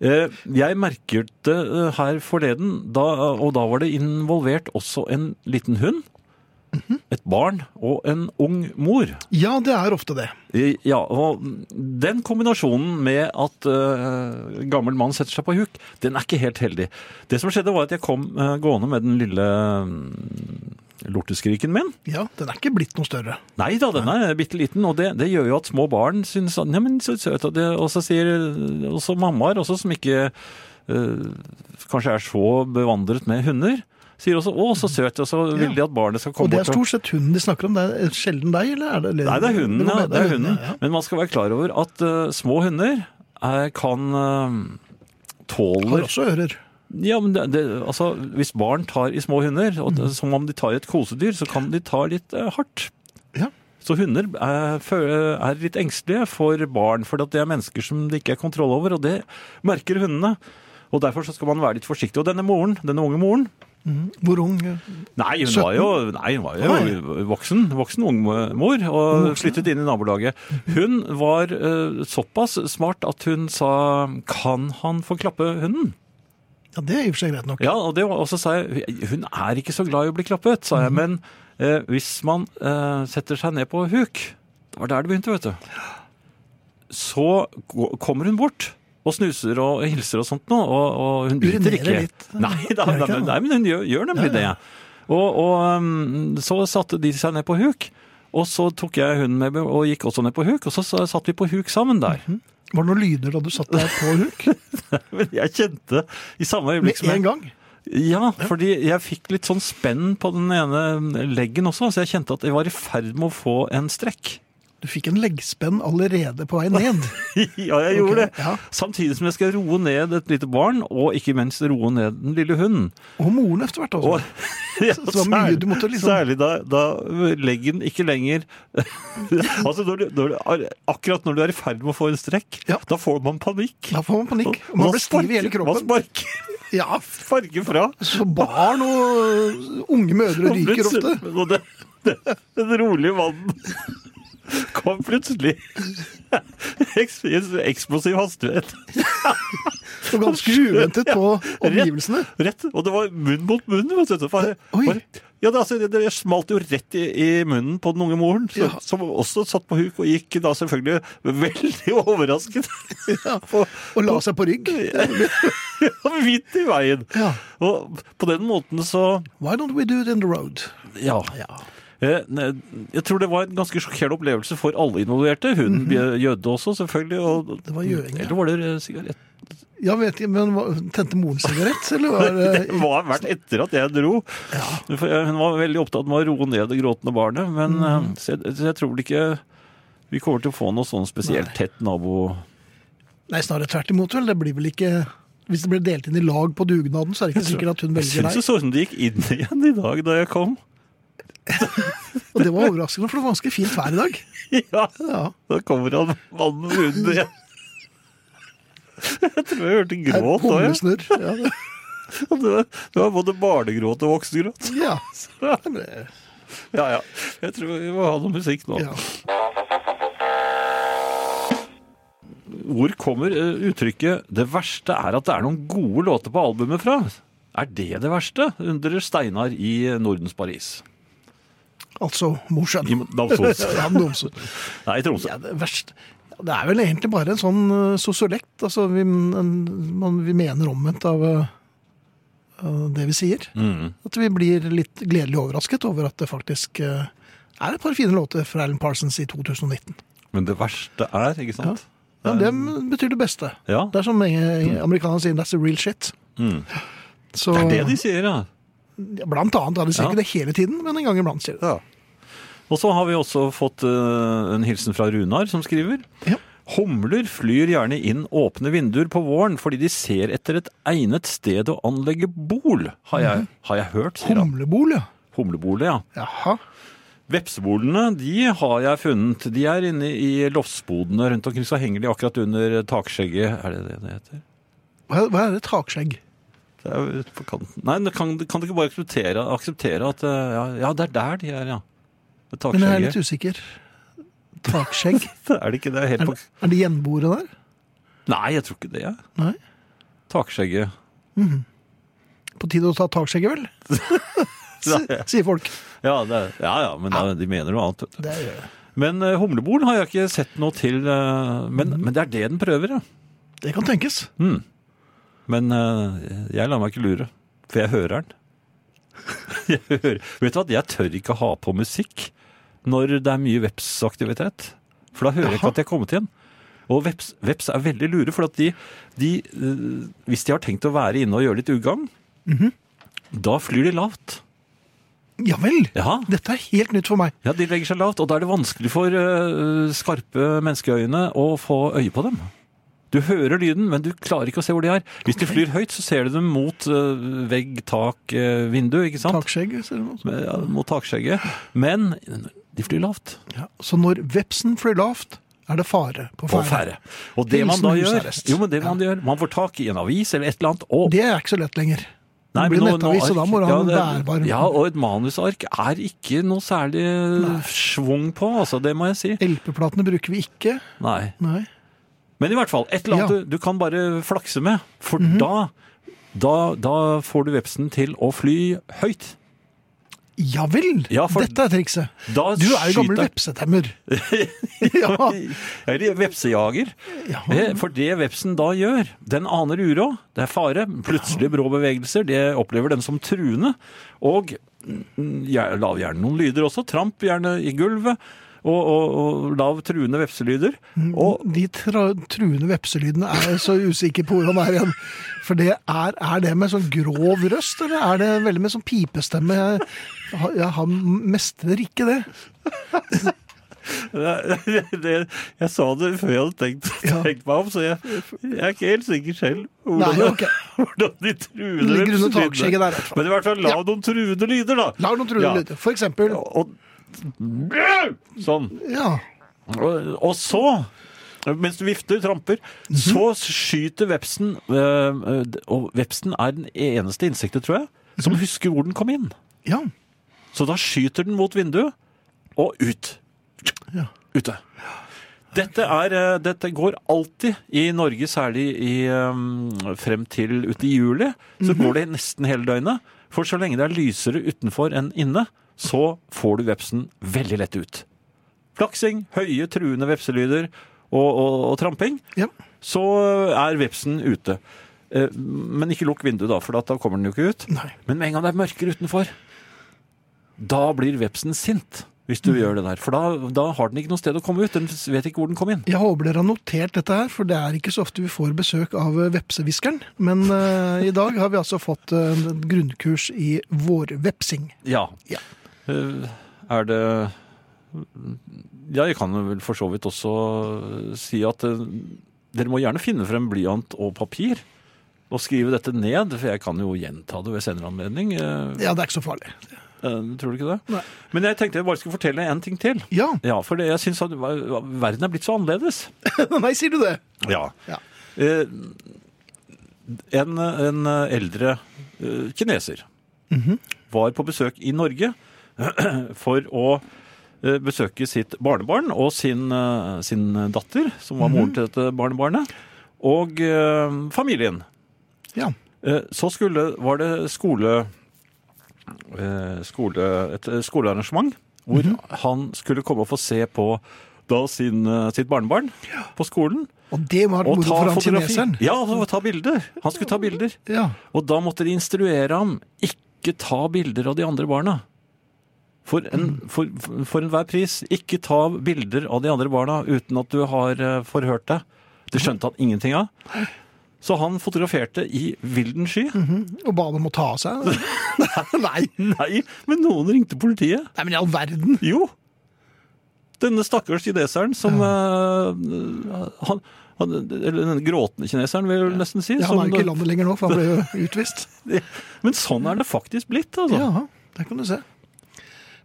Speaker 3: Eh, Jeg merket det eh, her forleden, da, og da var det involvert også en liten hund, et barn og en ung mor.
Speaker 2: Ja, det er ofte det.
Speaker 3: Eh, Ja, og den kombinasjonen med at eh, gammel mann setter seg på huk, den er ikke helt heldig. Det som skjedde var at jeg kom eh, gående med den lille mm, lorteskriken min,
Speaker 2: Ja, Den er ikke blitt noe større.
Speaker 3: Nei da, den er bitte liten, og det, det gjør jo at små barn syns at Neimen, så søt. Og, det, og så sier også mammaer, også som ikke eh, kanskje er så bevandret med hunder, sier også 'å, så søt', og så vil de at barnet skal
Speaker 2: Og
Speaker 3: komme
Speaker 2: det er
Speaker 3: bort og
Speaker 2: stort sett hunden de snakker om. Det er sjelden deg, eller? Er det, eller
Speaker 3: Nei, det er hunden, ja. Det er hunden.
Speaker 2: ja.
Speaker 3: Men man skal være klar over at eh, små hunder er, kan eh,
Speaker 2: Har
Speaker 3: tåler
Speaker 2: også ører.
Speaker 3: Ja, men det, det, altså, hvis barn tar i små hunder, og, det- som om de tar i et kosedyr, så kan de ta litt eh, hardt.
Speaker 2: Ja.
Speaker 3: Så hunder er, fø- er litt engstelige for barn, fordi at det er mennesker som det ikke er kontroll over, og det merker hundene. Og derfor så skal man være litt forsiktig. Og denne moren, denne unge moren,
Speaker 2: Hvor ung?
Speaker 3: Nei, hun var jo, nei, hun var jo voksen, voksen ungmor og flyttet inn i nabolaget. Hun var eh, såpass smart at hun sa 'kan han få klappe hunden'?
Speaker 2: Ja, det er i og for seg greit nok.
Speaker 3: Ja, og, det, var- og så sa jeg 'hun er ikke så glad i å bli klappet', sa
Speaker 2: Mhm.
Speaker 3: jeg. Men eh, hvis man eh, setter seg ned på huk Det var der det begynte, vet du. Så gå- kommer hun bort. Og snuser og hilser og sånt noe, og, og hun biter
Speaker 2: Urinerer
Speaker 3: ikke.
Speaker 2: litt.
Speaker 3: Nei, da,
Speaker 2: Gjør
Speaker 3: nei,
Speaker 2: ikke det,
Speaker 3: men-
Speaker 2: da?
Speaker 3: nei, men hun gjør, gjør nemlig det. Og, og um, så satte de seg ned på huk, og så tok jeg hunden med og gikk også ned på huk, og så så satt vi på huk sammen der.
Speaker 2: Var det noen lyder da du satt der på huk?
Speaker 3: Men jeg kjente i samme
Speaker 2: Med
Speaker 3: øyeblikk som jeg-
Speaker 2: en gang?
Speaker 3: Ja, fordi jeg fikk litt sånn spenn på den ene leggen også, så jeg kjente at jeg var i ferd med å få en strekk.
Speaker 2: Du fikk en leggspenn allerede på vei ned.
Speaker 3: ja, jeg gjorde
Speaker 2: Ok,
Speaker 3: det.
Speaker 2: ja.
Speaker 3: Samtidig som jeg skal roe ned et lite barn, og ikke minst roe ned den lille hunden.
Speaker 2: Og moren etter hvert altså. også.
Speaker 3: Og, ja,
Speaker 2: Så- så det var mye
Speaker 3: særlig-
Speaker 2: du måtte liksom-
Speaker 3: Særlig da, da leggen ikke lenger Altså, når du, når du, er- akkurat når du er i ferd med å få en strekk,
Speaker 2: Ja.
Speaker 3: da får man panikk.
Speaker 2: Da får man panikk. og Man blir stiv i hele
Speaker 3: sparker- Man
Speaker 2: kroppen.
Speaker 3: sparker,
Speaker 2: Ja,
Speaker 3: sparker fra.
Speaker 2: så barn og unge mødre
Speaker 3: Og
Speaker 2: ryker
Speaker 3: plutselig-
Speaker 2: ofte.
Speaker 3: Og det, det, den rolige mannen kom plutselig eks- i en eksplosiv hastighet.
Speaker 2: Og ganske uventet på omgivelsene.
Speaker 3: Rett, og det var munn mot munn. Vet du. Bare,
Speaker 2: Oi.
Speaker 3: bare, ja, det, altså, det, det smalt jo rett i, i munnen på den unge moren, så,
Speaker 2: Ja.
Speaker 3: som også satt på huk og gikk da selvfølgelig veldig overrasket. og,
Speaker 2: Og la seg på rygg.
Speaker 3: og midt i veien.
Speaker 2: Ja.
Speaker 3: Og på den måten så
Speaker 2: Why don't we do it in the road?
Speaker 3: Ja. Eh, ne- Jeg tror det var en ganske sjokkerende opplevelse for alle involverte. Hun gjødde eh, også, selvfølgelig. Og,
Speaker 2: Det Mhm. var gjøing, ja.
Speaker 3: Eller var det eh, sigarett?
Speaker 2: Ja, vet ikke, men hva- Tente moren sigarett, eller var det
Speaker 3: Det må ha vært etter at jeg dro. For jeg- Hun var veldig opptatt med å roe ned det gråtende barnet. Men
Speaker 2: Mhm.
Speaker 3: eh, så jeg, så jeg tror vel ikke vi kommer til å få noe sånn spesielt tett nabo...
Speaker 2: Nei, snarere tvert imot, vel. Det blir vel ikke Hvis det blir delt inn i lag på dugnaden, så er det ikke sikkert at hun
Speaker 3: Jeg
Speaker 2: velger
Speaker 3: syns
Speaker 2: deg.
Speaker 3: det så ut som de gikk inn igjen i dag da jeg kom.
Speaker 2: Og det var overraskende, for det var ganske fint vær i dag.
Speaker 3: Ja,
Speaker 2: Ja.
Speaker 3: Da kommer han mannen under igjen. Jeg tror jeg hørte
Speaker 2: Her
Speaker 3: gråt òg. jeg.
Speaker 2: humlesnurr. Ja, det-
Speaker 3: Det var- det var både barnegråt og voksengråt.
Speaker 2: ja. Nei, men det-
Speaker 3: Ja, ja. Jeg tror vi må ha noe musikk nå.
Speaker 2: ja.
Speaker 3: Hvor kommer eh, uttrykket 'det verste er at det er noen gode låter på albumet' fra? Er det det verste? undrer Steinar i Nordens Paris.
Speaker 2: Altså morsan.
Speaker 3: I Namsos.
Speaker 2: Ja, men Namsos.
Speaker 3: Nei, i Tromsø.
Speaker 2: Ja, det, er verst. Ja, det er vel egentlig bare en sånn uh, sosiolekt. Altså, vi, en, man, vi mener omvendt av eh, av det vi sier.
Speaker 3: Mm.
Speaker 2: At vi blir litt gledelig overrasket over at det faktisk eh, er et par fine låter fra Alan Parsons i 2019.
Speaker 3: Men det verste er, ikke sant?
Speaker 2: Ja, det betyr det beste.
Speaker 3: Ja.
Speaker 2: Det er som eh, amerikanerne sier, that's the real shit.
Speaker 3: Mm.
Speaker 2: Så,
Speaker 3: Det er det de sier, ja.
Speaker 2: ja, Blant annet. Ja, de sier
Speaker 3: Ja.
Speaker 2: ikke det hele tiden, men en gang iblant sier de det.
Speaker 3: Og så har vi også fått eh, en hilsen fra Runar, som skriver.
Speaker 2: Ja.
Speaker 3: Humler flyr gjerne inn åpne vinduer på våren fordi de ser etter et egnet sted å anlegge bol, har
Speaker 2: Mhm.
Speaker 3: jeg, har jeg hørt, sier han.
Speaker 2: Humlebol, ja.
Speaker 3: Humlebolet, ja.
Speaker 2: Jaha.
Speaker 3: Vepsebolene de har jeg funnet. De er inne i loftsbodene rundt omkring, så henger de akkurat under takskjegget. Er det det det heter?
Speaker 2: Hva, hva er det takskjegg?
Speaker 3: Det er jo ute på kanten. Nei, men kan, kan du ikke bare akseptere, akseptere at eh, ja, ja, det er der de er, ja. Det er
Speaker 2: Men jeg er litt
Speaker 3: takskjegget.
Speaker 2: usikker. Takskjegg?
Speaker 3: Er det ikke det? Helt
Speaker 2: Er,
Speaker 3: på...
Speaker 2: er det gjenboere der?
Speaker 3: Nei, jeg tror ikke det. jeg.
Speaker 2: Nei.
Speaker 3: Takskjegget.
Speaker 2: På tide å ta takskjegget, vel? Si- Sier folk.
Speaker 3: Ja, det, er- ja, ja, men da- de mener noe annet. vet du.
Speaker 2: Det gjør jeg.
Speaker 3: Men eh, humlebol har jeg ikke sett noe til. eh, men, men det er det den prøver, ja.
Speaker 2: Det kan tenkes.
Speaker 3: Mm. Men eh, jeg lar meg ikke lure, for jeg hører den. jeg hører. Vet du hva, jeg tør ikke ha på musikk når det er mye vepsaktivitet. For da hører jeg ikke at jeg er kommet igjen. Og veps, veps er veldig lure, for at de, de eh, Hvis de har tenkt å være inne og gjøre litt ugagn, da flyr de lavt.
Speaker 2: Ja vel.
Speaker 3: Ja,
Speaker 2: Dette er helt nytt for meg.
Speaker 3: ja, de legger seg lavt, og da er det vanskelig for eh, skarpe menneskeøyne å få øye på dem. Du hører lyden, men du klarer ikke å se hvor de er. Hvis de flyr høyt, så ser du dem mot eh, vegg, tak, eh, vindu, ikke sant?
Speaker 2: Takskjegg. ser du noe?
Speaker 3: Men, Ja, mot takskjegget. Men de flyr lavt.
Speaker 2: Ja. Så når vepsen flyr lavt, er det fare på
Speaker 3: På
Speaker 2: ferde.
Speaker 3: færre. Og det man da
Speaker 2: Hilsen
Speaker 3: gjør
Speaker 2: husarrest.
Speaker 3: Jo, men det man gjør Man får tak i en avis eller et eller annet, og
Speaker 2: Det er ikke så lett lenger. Det
Speaker 3: Nei,
Speaker 2: blir
Speaker 3: men nå-
Speaker 2: nettavis,
Speaker 3: nå
Speaker 2: og da må
Speaker 3: ark-
Speaker 2: du ha en
Speaker 3: det-
Speaker 2: bærbar
Speaker 3: Ja, og et manusark er ikke noe særlig schwung på, altså. Det må jeg si.
Speaker 2: LP-platene bruker vi ikke.
Speaker 3: Nei.
Speaker 2: Nei.
Speaker 3: Men i hvert fall, et eller
Speaker 2: Ja.
Speaker 3: annet
Speaker 2: Mhm.
Speaker 3: du, du kan bare flakse med. For da, da, da får du vepsen til å fly høyt.
Speaker 2: Ja vel!
Speaker 3: Ja, for-
Speaker 2: Dette er trikset.
Speaker 3: Da
Speaker 2: Du er jo gammel
Speaker 3: skyter-
Speaker 2: vepsetemmer. ja.
Speaker 3: Eller vepsejager.
Speaker 2: ja.
Speaker 3: Eh, For det vepsen da gjør, den aner uråd, det er fare, plutselig brå bevegelser, det opplever den som truende. Og mm, jeg lav gjerne noen lyder også, tramp gjerne i gulvet, og, og, og lav truende vepselyder.
Speaker 2: Mhm.
Speaker 3: Og
Speaker 2: De tra truende vepselydene er jeg så usikker på hvordan det er igjen. For det er, er det med sånn grov røst, eller er det veldig med sånn pipestemme? Jeg, har- jeg har mestrer ikke det.
Speaker 3: Det, det, jeg sa det før jeg hadde tenkt,
Speaker 2: Ja.
Speaker 3: tenkt meg om, så jeg, jeg er ikke helt sikker selv hvordan,
Speaker 2: Nei, ok.
Speaker 3: hvordan de truende
Speaker 2: Ligger under
Speaker 3: lydene-
Speaker 2: takskjegget der, i hvert fall.
Speaker 3: Men i hvert fall la
Speaker 2: Ja.
Speaker 3: noen truende lyder, da.
Speaker 2: Lag noen truende
Speaker 3: Ja.
Speaker 2: lyder. For eksempel
Speaker 3: Og, sånn.
Speaker 2: Ja.
Speaker 3: Og, og så, mens du vifter, tramper,
Speaker 2: Mhm.
Speaker 3: så skyter vepsen øh, øh, Og vepsen er den eneste insektet, tror jeg, som
Speaker 2: Mhm.
Speaker 3: husker hvor den kom inn.
Speaker 2: ja.
Speaker 3: Så da skyter den mot vinduet og ut.
Speaker 2: Ja.
Speaker 3: Ute. Dette, er, eh, dette går alltid i Norge, særlig i, eh, frem til ute i juli. Så går det nesten hele døgnet. For så lenge det er lysere utenfor enn inne, så får du vepsen veldig lett ut. Flaksing, høye, truende vepselyder og, og, og tramping
Speaker 2: ja.
Speaker 3: så er vepsen ute. Eh, Men ikke lukk vinduet, da, for da kommer den jo ikke ut.
Speaker 2: Nei.
Speaker 3: Men med en gang det er mørkere utenfor, da blir vepsen sint. hvis du gjør det der. For da, da har den ikke noe sted å komme ut. Den vet ikke hvor den kom inn.
Speaker 2: Jeg håper dere har notert dette her, for det er ikke så ofte vi får besøk av eh, vepsehviskeren. Men eh, i dag har vi altså fått eh, en grunnkurs i vårvepsing.
Speaker 3: Ja.
Speaker 2: Ja.
Speaker 3: Eh, Er det Ja, jeg kan vel for så vidt også eh, si at eh, dere må gjerne finne frem blyant og papir og skrive dette ned, for jeg kan jo gjenta det ved senere anledning. Eh,
Speaker 2: Ja, det er ikke så farlig.
Speaker 3: eh, Tror du ikke det?
Speaker 2: Nei.
Speaker 3: Men jeg tenkte jeg bare skulle fortelle en ting til.
Speaker 2: Ja,
Speaker 3: Ja, for det, jeg syns at verden er blitt så annerledes.
Speaker 2: nei, sier du det?
Speaker 3: Ja.
Speaker 2: Ja.
Speaker 3: Eh, en, en eldre eh, kineser
Speaker 2: Mhm.
Speaker 3: var på besøk i Norge for å eh, besøke sitt barnebarn og sin, eh, sin datter, som var
Speaker 2: Mhm.
Speaker 3: moren til dette barnebarnet, og eh, familien.
Speaker 2: Ja.
Speaker 3: Eh, Så skulle, var det skole, eh, skole, et eh, skolearrangement hvor
Speaker 2: Mhm.
Speaker 3: han skulle komme og få se på da sin, eh, sitt barnebarn på skolen.
Speaker 2: Og det var
Speaker 3: Og
Speaker 2: moro
Speaker 3: ta
Speaker 2: for han
Speaker 3: fotografi.
Speaker 2: kineseren.
Speaker 3: Ja, og ta bilder. Han skulle ta bilder.
Speaker 2: Ja.
Speaker 3: Og da måtte de instruere ham ikke ta bilder av de andre barna. For, en,
Speaker 2: Mhm.
Speaker 3: for, for enhver pris, ikke ta bilder av de andre barna uten at du har eh, forhørt deg.
Speaker 2: Mhm.
Speaker 3: Det skjønte han ingenting av. Så han fotograferte i vilden sky.
Speaker 2: Og ba dem å ta av seg. nei,
Speaker 3: Nei, men noen ringte politiet.
Speaker 2: nei, men i all verden.
Speaker 3: Jo. Denne stakkars kineseren som eh, han, han, Eller den gråtende kineseren, vil jeg vel nesten si.
Speaker 2: Ja, han er
Speaker 3: som-
Speaker 2: jo ikke i landet lenger nå, for han ble jo utvist.
Speaker 3: Men sånn er det faktisk blitt, altså.
Speaker 2: Ja, der kan du se.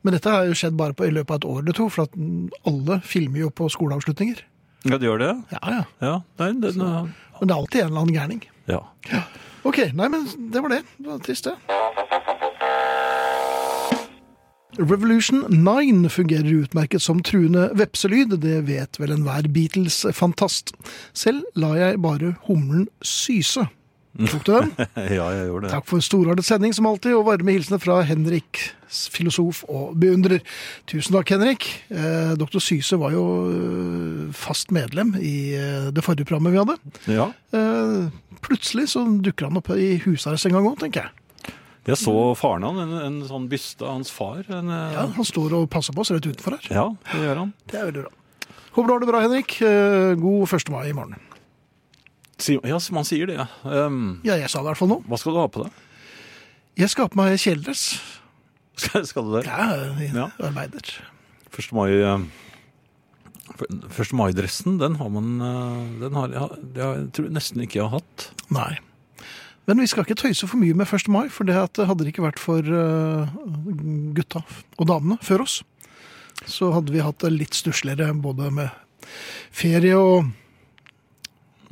Speaker 2: Men dette har jo skjedd bare på, i løpet av et år eller to, for at alle filmer jo på skoleavslutninger.
Speaker 3: Ja, det gjør det.
Speaker 2: Ja, ja.
Speaker 3: Ja, nei, det, nå-
Speaker 2: Men det er alltid en eller annen gærning.
Speaker 3: ja.
Speaker 2: Ok, nei, men det var det. Det var trist, det. Revolution 9 fungerer utmerket som truende vepselyd, det vet vel enhver Beatles-fantast. Selv lar jeg bare humlen syse. Tok du den?
Speaker 3: ja, jeg gjorde det.
Speaker 2: Takk for storartet sending som alltid, og varme hilsener fra Henrik, filosof og beundrer. Tusen takk, Henrik. Eh, Dr. Syse var jo eh, fast medlem i eh, det forrige programmet vi hadde.
Speaker 3: Ja.
Speaker 2: Eh, plutselig så dukker han opp i husarrest en gang òg, tenker jeg.
Speaker 3: Jeg så faren han, en, en sånn byste av hans far. En, eh,
Speaker 2: Ja, han står og passer på oss rett utenfor her.
Speaker 3: ja, det gjør han.
Speaker 2: Det er veldig bra. Håper du har det bra, Henrik. Eh, God 1. mai i morgen.
Speaker 3: Si- Ja, som han sier det, ja. Ehm,
Speaker 2: Ja, jeg sa det i hvert fall nå.
Speaker 3: hva skal du ha på deg?
Speaker 2: Jeg skal ha på meg kjeledress.
Speaker 3: Skal, skal du det?
Speaker 2: Ja, jeg
Speaker 3: Ja.
Speaker 2: arbeider.
Speaker 3: 1. mai... eh, f- 1. mai-dressen, den har man eh, Den har jeg, jeg tror nesten ikke jeg har hatt.
Speaker 2: Nei. Men vi skal ikke tøyse for mye med 1. mai, for det at hadde det ikke vært for eh, gutta og damene før oss, så hadde vi hatt det litt stussligere både med ferie og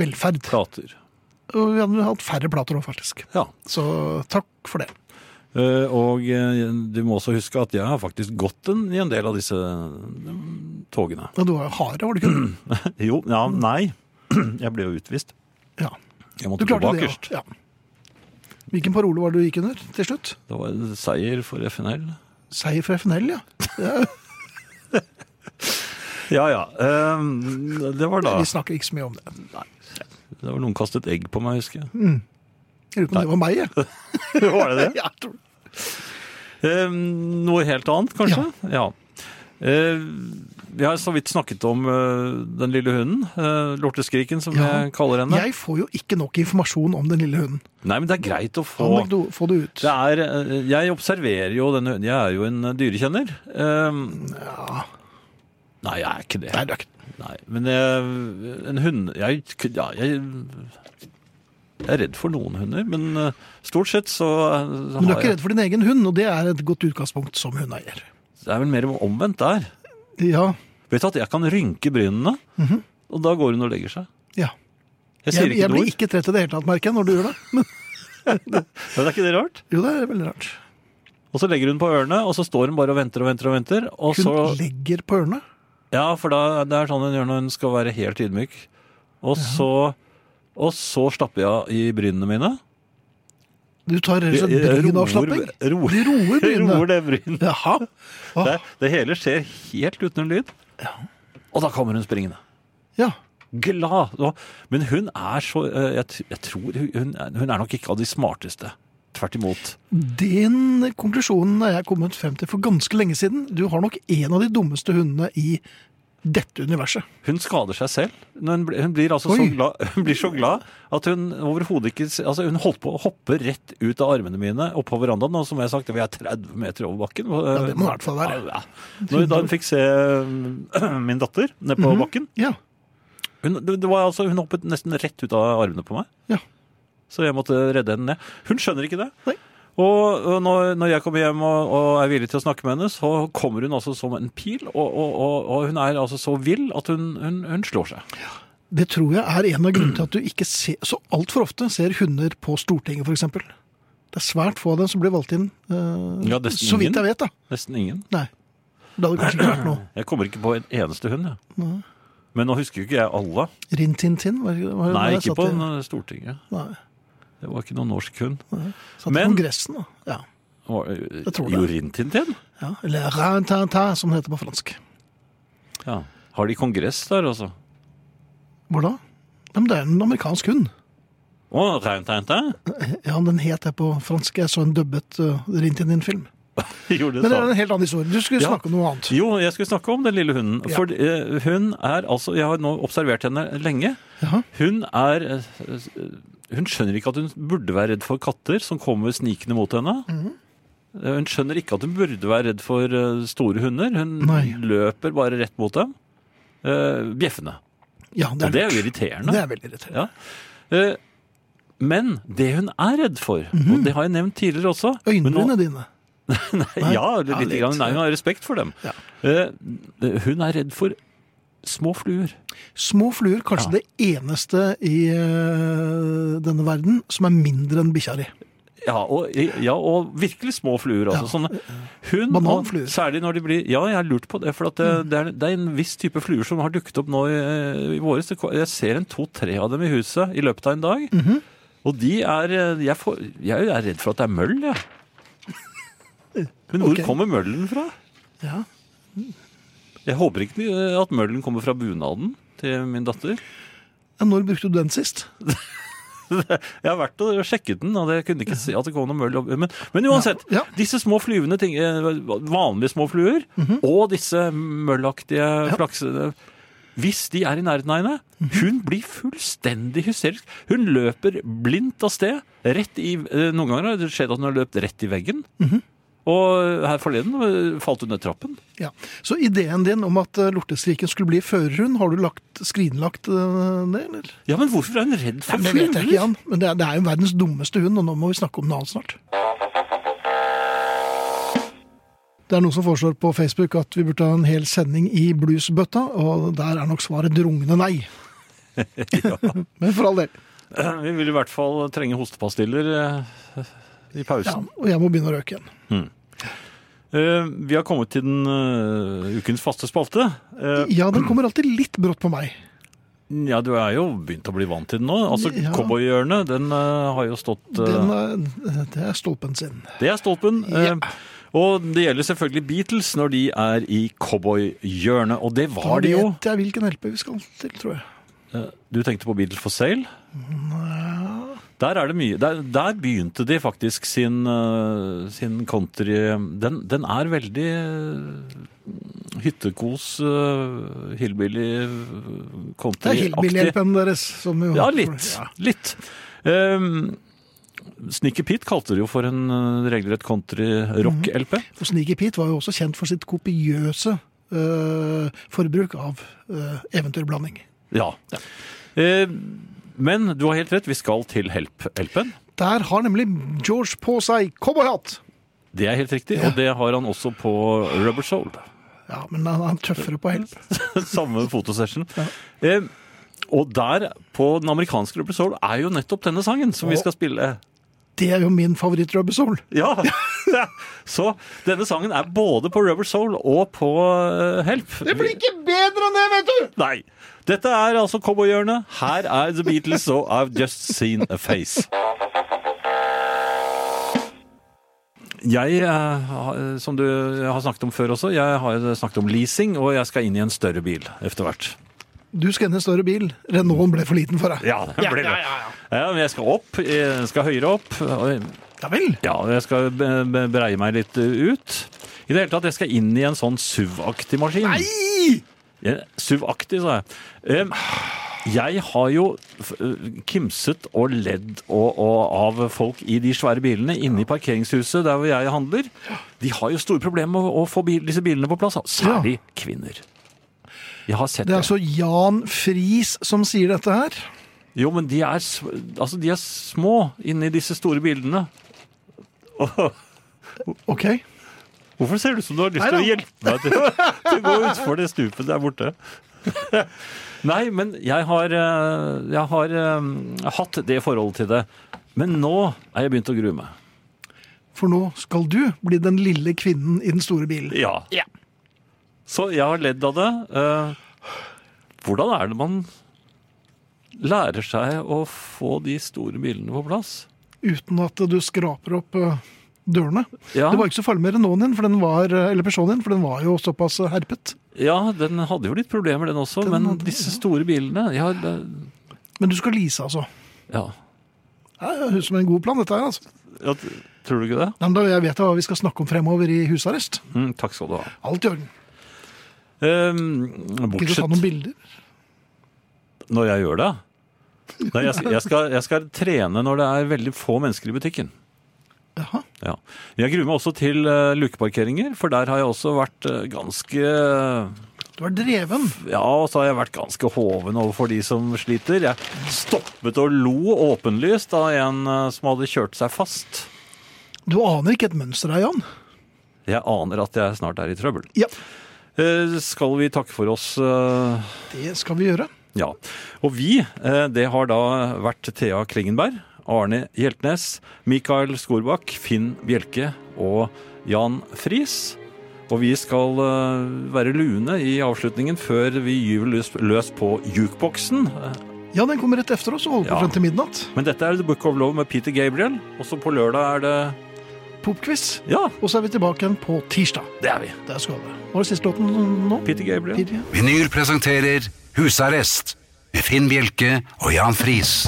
Speaker 2: velferd.
Speaker 3: Plater.
Speaker 2: Og vi hadde hatt færre plater òg, faktisk.
Speaker 3: Ja.
Speaker 2: Så takk for det.
Speaker 3: Eh, Og eh, du må også huske at jeg har faktisk gått en, i en del av disse mm, togene. Mm.
Speaker 2: Og du var jo harde, var du ikke?
Speaker 3: Jo, ja, nei. Jeg ble jo utvist.
Speaker 2: Ja.
Speaker 3: Jeg måtte
Speaker 2: Du
Speaker 3: gå
Speaker 2: klarte det,
Speaker 3: bakerst.
Speaker 2: ja. ja. Hvilken parole var det du gikk under til slutt?
Speaker 3: Det var en seier for FNL.
Speaker 2: Seier for FNL, ja.
Speaker 3: Ja ja. ehm, det var da
Speaker 2: Vi snakker ikke så mye om det.
Speaker 3: Det var noen kastet egg på meg, husker jeg.
Speaker 2: Jeg lurer på om det var meg, jeg.
Speaker 3: Var det det?
Speaker 2: Ja, jeg tror det.
Speaker 3: Ehm, noe helt annet, kanskje? Ja. Ehm, vi har så vidt snakket om eh, den lille hunden. eh, lorteskriken, som
Speaker 2: Ja.
Speaker 3: jeg kaller henne.
Speaker 2: Jeg får jo ikke nok informasjon om den lille hunden.
Speaker 3: Nei, men det er greit å få
Speaker 2: Anekdo, få det ut.
Speaker 3: det er, eh, jeg observerer jo denne hunden. Jeg er jo en eh, dyrekjenner. Ehm, Nei, jeg er ikke det.
Speaker 2: Nei, det er ikke
Speaker 3: Nei, men jeg, en hund jeg, ja, jeg, jeg er redd for noen hunder, men eh, stort sett så eh,
Speaker 2: Men du er
Speaker 3: har
Speaker 2: ikke
Speaker 3: jeg
Speaker 2: redd for din egen hund, og det er et godt utgangspunkt som hundeeier.
Speaker 3: Det er vel mer omvendt der.
Speaker 2: Ja,
Speaker 3: Vet du at jeg kan rynke brynene, og da går hun og legger seg.
Speaker 2: ja.
Speaker 3: Jeg sier
Speaker 2: Mhm. Jeg, jeg
Speaker 3: ikke et ord.
Speaker 2: blir ikke trett i det hele tatt, merker jeg, når du gjør det. Men,
Speaker 3: Men er ikke det rart?
Speaker 2: jo, det er veldig rart.
Speaker 3: Og så legger hun på ørene, og så står hun bare og venter og venter og venter. Og
Speaker 2: Hun
Speaker 3: så,
Speaker 2: legger på ørene.
Speaker 3: ja, for da, det er sånn hun gjør når hun skal være helt ydmyk. Og så, og så slapper jeg av i brynene mine.
Speaker 2: Du tar rett og slett
Speaker 3: Jeg- jeg
Speaker 2: brynavslapping.
Speaker 3: roer- roer-
Speaker 2: Du roer
Speaker 3: Roer
Speaker 2: brynene.
Speaker 3: det brynet.
Speaker 2: Jaha. Åh,
Speaker 3: Det, det hele skjer helt uten en lyd. Og da kommer hun springende.
Speaker 2: ja.
Speaker 3: Glad. Og- Men hun er så eh, Jeg, t- jeg tror hun, hun er nok ikke av de smarteste. Tvert imot.
Speaker 2: Den konklusjonen er jeg kommet frem til for ganske lenge siden. Du har nok en av de dummeste hundene i dette universet.
Speaker 3: Hun skader seg selv. Når hun, blir, hun, blir altså så
Speaker 2: Oi.
Speaker 3: glad, hun blir så glad at hun overhodet ikke s- altså Hun holdt på å hoppe rett ut av armene mine opp på verandaen. Og som jeg har sagt, vi er 30 meter over bakken. Ja,
Speaker 2: det må det i hvert fall være.
Speaker 3: Ja, Når, da hun fikk se øh, min datter nede på
Speaker 2: Mhm.
Speaker 3: bakken
Speaker 2: Ja.
Speaker 3: hun, det det var altså, hun hoppet nesten rett ut av armene på meg.
Speaker 2: Ja.
Speaker 3: Så jeg måtte redde henne ned. Hun skjønner ikke det.
Speaker 2: Nei.
Speaker 3: Og og når, når jeg kommer hjem og, og er villig til å snakke med henne, så kommer hun altså som en pil. Og, og, og, og hun er altså så vill at hun, hun, hun slår seg.
Speaker 2: Det tror jeg er en av grunnene til at du ikke ser, så altfor ofte ser hunder på Stortinget, f.eks. Det er svært få av dem som blir valgt inn. eh,
Speaker 3: Ja, det er
Speaker 2: så vidt
Speaker 3: ingen.
Speaker 2: jeg vet, da.
Speaker 3: Nesten ingen.
Speaker 2: Nei. Det hadde kanskje ikke vært noe.
Speaker 3: Jeg kommer ikke på en eneste hund. Jeg. Men nå husker jo ikke jeg alle.
Speaker 2: Rin-tin-tin? var det- var det-
Speaker 3: Nei,
Speaker 2: var det
Speaker 3: ikke
Speaker 2: satt
Speaker 3: på
Speaker 2: i-
Speaker 3: en- Stortinget.
Speaker 2: Nei.
Speaker 3: Det var ikke noen norsk hund.
Speaker 2: Satt i
Speaker 3: Men-
Speaker 2: Kongressen, da. Ja. Jeg tror det.
Speaker 3: Jorintintin?
Speaker 2: ja. Eller rin-tin-tin, som det heter på fransk.
Speaker 3: Ja. Har de kongress der, altså?
Speaker 2: Hvor da? Ja, men det er en amerikansk hund.
Speaker 3: Å, reintintin?
Speaker 2: Ja, den het jeg på fransk. Jeg så en dubbet uh, Rintin-Tin-film.
Speaker 3: Gjorde det
Speaker 2: Men det
Speaker 3: samme.
Speaker 2: er en helt annen historie. Du skulle
Speaker 3: Ja.
Speaker 2: snakke om noe annet.
Speaker 3: Jo, jeg skulle snakke om den lille hunden.
Speaker 2: Ja.
Speaker 3: For eh, hun er altså Jeg har nå observert henne lenge.
Speaker 2: Jaha.
Speaker 3: Hun er eh, Hun skjønner ikke at hun burde være redd for katter som kommer snikende mot henne.
Speaker 2: Mhm.
Speaker 3: Eh, Hun skjønner ikke at hun burde være redd for eh, store hunder. Hun
Speaker 2: Nei.
Speaker 3: løper bare rett mot dem, eh, bjeffende.
Speaker 2: Ja, det
Speaker 3: Og det er
Speaker 2: lurt.
Speaker 3: jo irriterende.
Speaker 2: Det er veldig irriterende.
Speaker 3: Eh, Men det hun er redd for,
Speaker 2: Mhm.
Speaker 3: og det har jeg nevnt tidligere også men nå-
Speaker 2: Øyenbrynene dine. Nei? Ja,
Speaker 3: Ja, litt.
Speaker 2: litt.
Speaker 3: grann. Nei, hun har respekt for dem.
Speaker 2: Ja.
Speaker 3: Eh, Hun er redd for små fluer.
Speaker 2: Små fluer, kanskje det eneste i eh, denne verden som er mindre enn bikkja di.
Speaker 3: Ja og, ja, og virkelig små fluer. Altså, sånne hun,
Speaker 2: Bananfluer. Mm.
Speaker 3: Og, særlig når de blir Ja, jeg har lurt på det. For at det, det, er, det er en viss type fluer som har dukket opp nå i, i våres. Det ko- Jeg ser en to-tre av dem i huset i løpet av en dag.
Speaker 2: Mhm.
Speaker 3: Og de er eh, jeg, får, jeg er redd for at det er møll, jeg. Men hvor
Speaker 2: Ok.
Speaker 3: kommer møllen fra?
Speaker 2: Ja.
Speaker 3: Jeg håper ikke eh, at møllen kommer fra bunaden til min datter.
Speaker 2: Ja, Når brukte du den sist?
Speaker 3: Jeg har vært og sjekket den, og jeg kunne ikke se at det kom noe møll. opp- Men, men uansett,
Speaker 2: Ja, ja.
Speaker 3: disse små flyvende ting, eh, vanlige små fluer,
Speaker 2: Mhm.
Speaker 3: og disse møllaktige flaksene hvis de er i nærheten av henne,
Speaker 2: Mhm.
Speaker 3: hun blir fullstendig hysterisk. Hun løper blindt av sted. Rett i, eh, noen ganger har det skjedd at hun har løpt rett i veggen.
Speaker 2: Mhm.
Speaker 3: Og her forleden eh, falt hun ned trappen.
Speaker 2: Ja. Så ideen din om at eh, lorteskriken skulle bli førerhund, har du lagt, skrinlagt eh, det, eller?
Speaker 3: Ja, men hvorfor er hun redd for
Speaker 2: Nei, men det vet jeg ikke,
Speaker 3: fluer?
Speaker 2: Jan. Men det er, det er jo verdens dummeste hund, og nå må vi snakke om noe annet snart. Det er noen som foreslår på Facebook at vi burde ha en hel sending i bluesbøtta, og der er nok svaret drungende nei. Men for all del.
Speaker 3: Eh, Vi vil i hvert fall trenge hostepastiller eh, i
Speaker 2: Ja,
Speaker 3: pausen.
Speaker 2: og jeg må begynne å røyke igjen.
Speaker 3: Eh, Vi har kommet til den eh, ukens faste spalte. Eh,
Speaker 2: Ja, den kommer alltid litt brått på meg.
Speaker 3: Ja, du er jo begynt å bli vant til den nå. Altså,
Speaker 2: Ja.
Speaker 3: Cowboyhjørnet, den eh, har jo stått eh,
Speaker 2: Den, er- det er stolpen sin.
Speaker 3: Det er stolpen.
Speaker 2: Ja.
Speaker 3: eh, Og det gjelder selvfølgelig Beatles når de er i cowboyhjørnet. Og det
Speaker 2: Da
Speaker 3: var de jo.
Speaker 2: vet jeg hvilken LP vi skal til, tror jeg.
Speaker 3: Eh, Du tenkte på Beatles for sale? Der er det mye. Der, der begynte de faktisk sin, eh, sin country den, den er veldig eh, hyttekos, eh, hillbilly,
Speaker 2: Det er
Speaker 3: country-aktig.
Speaker 2: Hillbilly-LP-en deres. Som jo,
Speaker 3: Ja, litt.
Speaker 2: Ja.
Speaker 3: litt. Um, Snicker Pete kalte det jo for en eh, regelrett country-rock-LP.
Speaker 2: Og Sneaky Pete var jo også kjent for sitt kopiøse eh, forbruk av eh, eventyrblanding.
Speaker 3: Ja. Eh, men du har helt rett, vi skal til Help-LP-en.
Speaker 2: Der har nemlig George på seg cowboyhatt!
Speaker 3: Det er helt riktig, og det har han også på Rubber Soul.
Speaker 2: Ja, men han er tøffere på help.
Speaker 3: Samme fotosession. Eh, og der, på den amerikanske Rubber Soul, er jo nettopp denne sangen som vi skal spille.
Speaker 2: Det er jo min favoritt-Rubber Soul.
Speaker 3: Ja! Så denne sangen er både på Rubber Soul og på eh, Help. Det blir ikke bedre enn det, vet du! Nei. Dette er altså cowboyhjørnet. Her er The Beatles og I've Just Seen A Face. Jeg, eh, har- som du har snakket om før også, jeg har snakket om leasing, og jeg skal inn i en større bil etter hvert.
Speaker 2: Du skal inn i en større bil. Renaulten ble for liten for deg.
Speaker 3: Ja, det blir det. Ja, men jeg skal opp, jeg skal høyere opp. og
Speaker 2: Ja vel.
Speaker 3: Ja, og jeg skal be be breie meg litt eh, ut. I det hele tatt, jeg skal inn i en sånn SUV-aktig maskin.
Speaker 2: Nei!
Speaker 3: Ja, SUV-aktig, sa jeg. Em, Jeg har jo f- eh, kimset og ledd og, og av folk i de svære bilene inne i parkeringshuset der hvor jeg handler. De har jo store problemer med å, å få bil, disse bilene på plass, altså. særlig kvinner. Jeg har sett
Speaker 2: Det er
Speaker 3: det.
Speaker 2: altså Jan Friis som sier dette her.
Speaker 3: Jo, men de er, sv- altså, de er små inni disse store bilene.
Speaker 2: Ok.
Speaker 3: Hvorfor ser det ut som du har lyst til å
Speaker 2: Neida.
Speaker 3: hjelpe meg til, til å gå utfor det stupet der borte? Nei, men jeg har, eh, jeg har eh, hatt det forholdet til det. Men nå er jeg begynt å grue meg.
Speaker 2: For nå skal du bli den lille kvinnen i den store bilen.
Speaker 3: Ja.
Speaker 4: Ja.
Speaker 3: Så jeg har ledd av det. Eh, Hvordan er det man lærer seg å få de store bilene på plass?
Speaker 2: Uten at du skraper opp eh, dørene.
Speaker 3: Ja,
Speaker 2: Det var ikke så farlig med Renaulten din, for den var, eh, eller Peugeoten din, for den var jo såpass eh, herpet.
Speaker 3: ja den hadde jo litt problemer, den også.
Speaker 2: Den
Speaker 3: men
Speaker 2: hadde det,
Speaker 3: disse store bilene jeg har, eh,
Speaker 2: Men du skal lease, altså.
Speaker 3: ja.
Speaker 2: Ja, Det høres ut som en god plan, dette her. altså.
Speaker 3: ja. t- Tror du ikke det?
Speaker 2: Nei, men da vet jeg hva vi skal snakke om fremover i husarrest.
Speaker 3: Mm, takk skal du ha.
Speaker 2: Alt i orden.
Speaker 3: Um,
Speaker 2: Gidder du
Speaker 3: bortsett
Speaker 2: ta noen bilder?
Speaker 3: når jeg gjør det. Nei, jeg, jeg, skal, jeg skal trene når det er veldig få mennesker i butikken.
Speaker 2: Jaha.
Speaker 3: Ja. Jeg gruer meg også til eh, lukeparkeringer, for der har jeg også vært eh, ganske
Speaker 2: Du er dreven.
Speaker 3: Ja, og så har jeg vært ganske hoven overfor de som sliter. Jeg stoppet og lo åpenlyst av en eh, som hadde kjørt seg fast.
Speaker 2: Du aner ikke et mønster her, Jan.
Speaker 3: Jeg aner at jeg snart er i trøbbel.
Speaker 2: Ja,
Speaker 3: Eh, Skal vi takke for oss? eh,
Speaker 2: det skal vi gjøre.
Speaker 3: Ja. Og vi, eh, det har da vært Thea Klingenberg, Arne Hjeltnes, Mikael Skorbakk, Finn Bjelke og Jan Friis. Og vi skal eh, være lune i avslutningen før vi gyver løs- løs på jukeboksen. Eh,
Speaker 2: Ja, den kommer rett efter oss og holder på
Speaker 3: Ja.
Speaker 2: frem til midnatt.
Speaker 3: Men dette er The Book of Love med Peter Gabriel. Og så på lørdag er det
Speaker 2: Popquiz.
Speaker 3: Ja,
Speaker 2: Og så er vi tilbake igjen på tirsdag.
Speaker 3: det er vi.
Speaker 2: Der skal vi. Hva er siste låten nå?
Speaker 3: Peter Gabriel.
Speaker 2: Pirje?
Speaker 1: Vinyl presenterer Husarrest med Finn Bjelke og Jan Friis.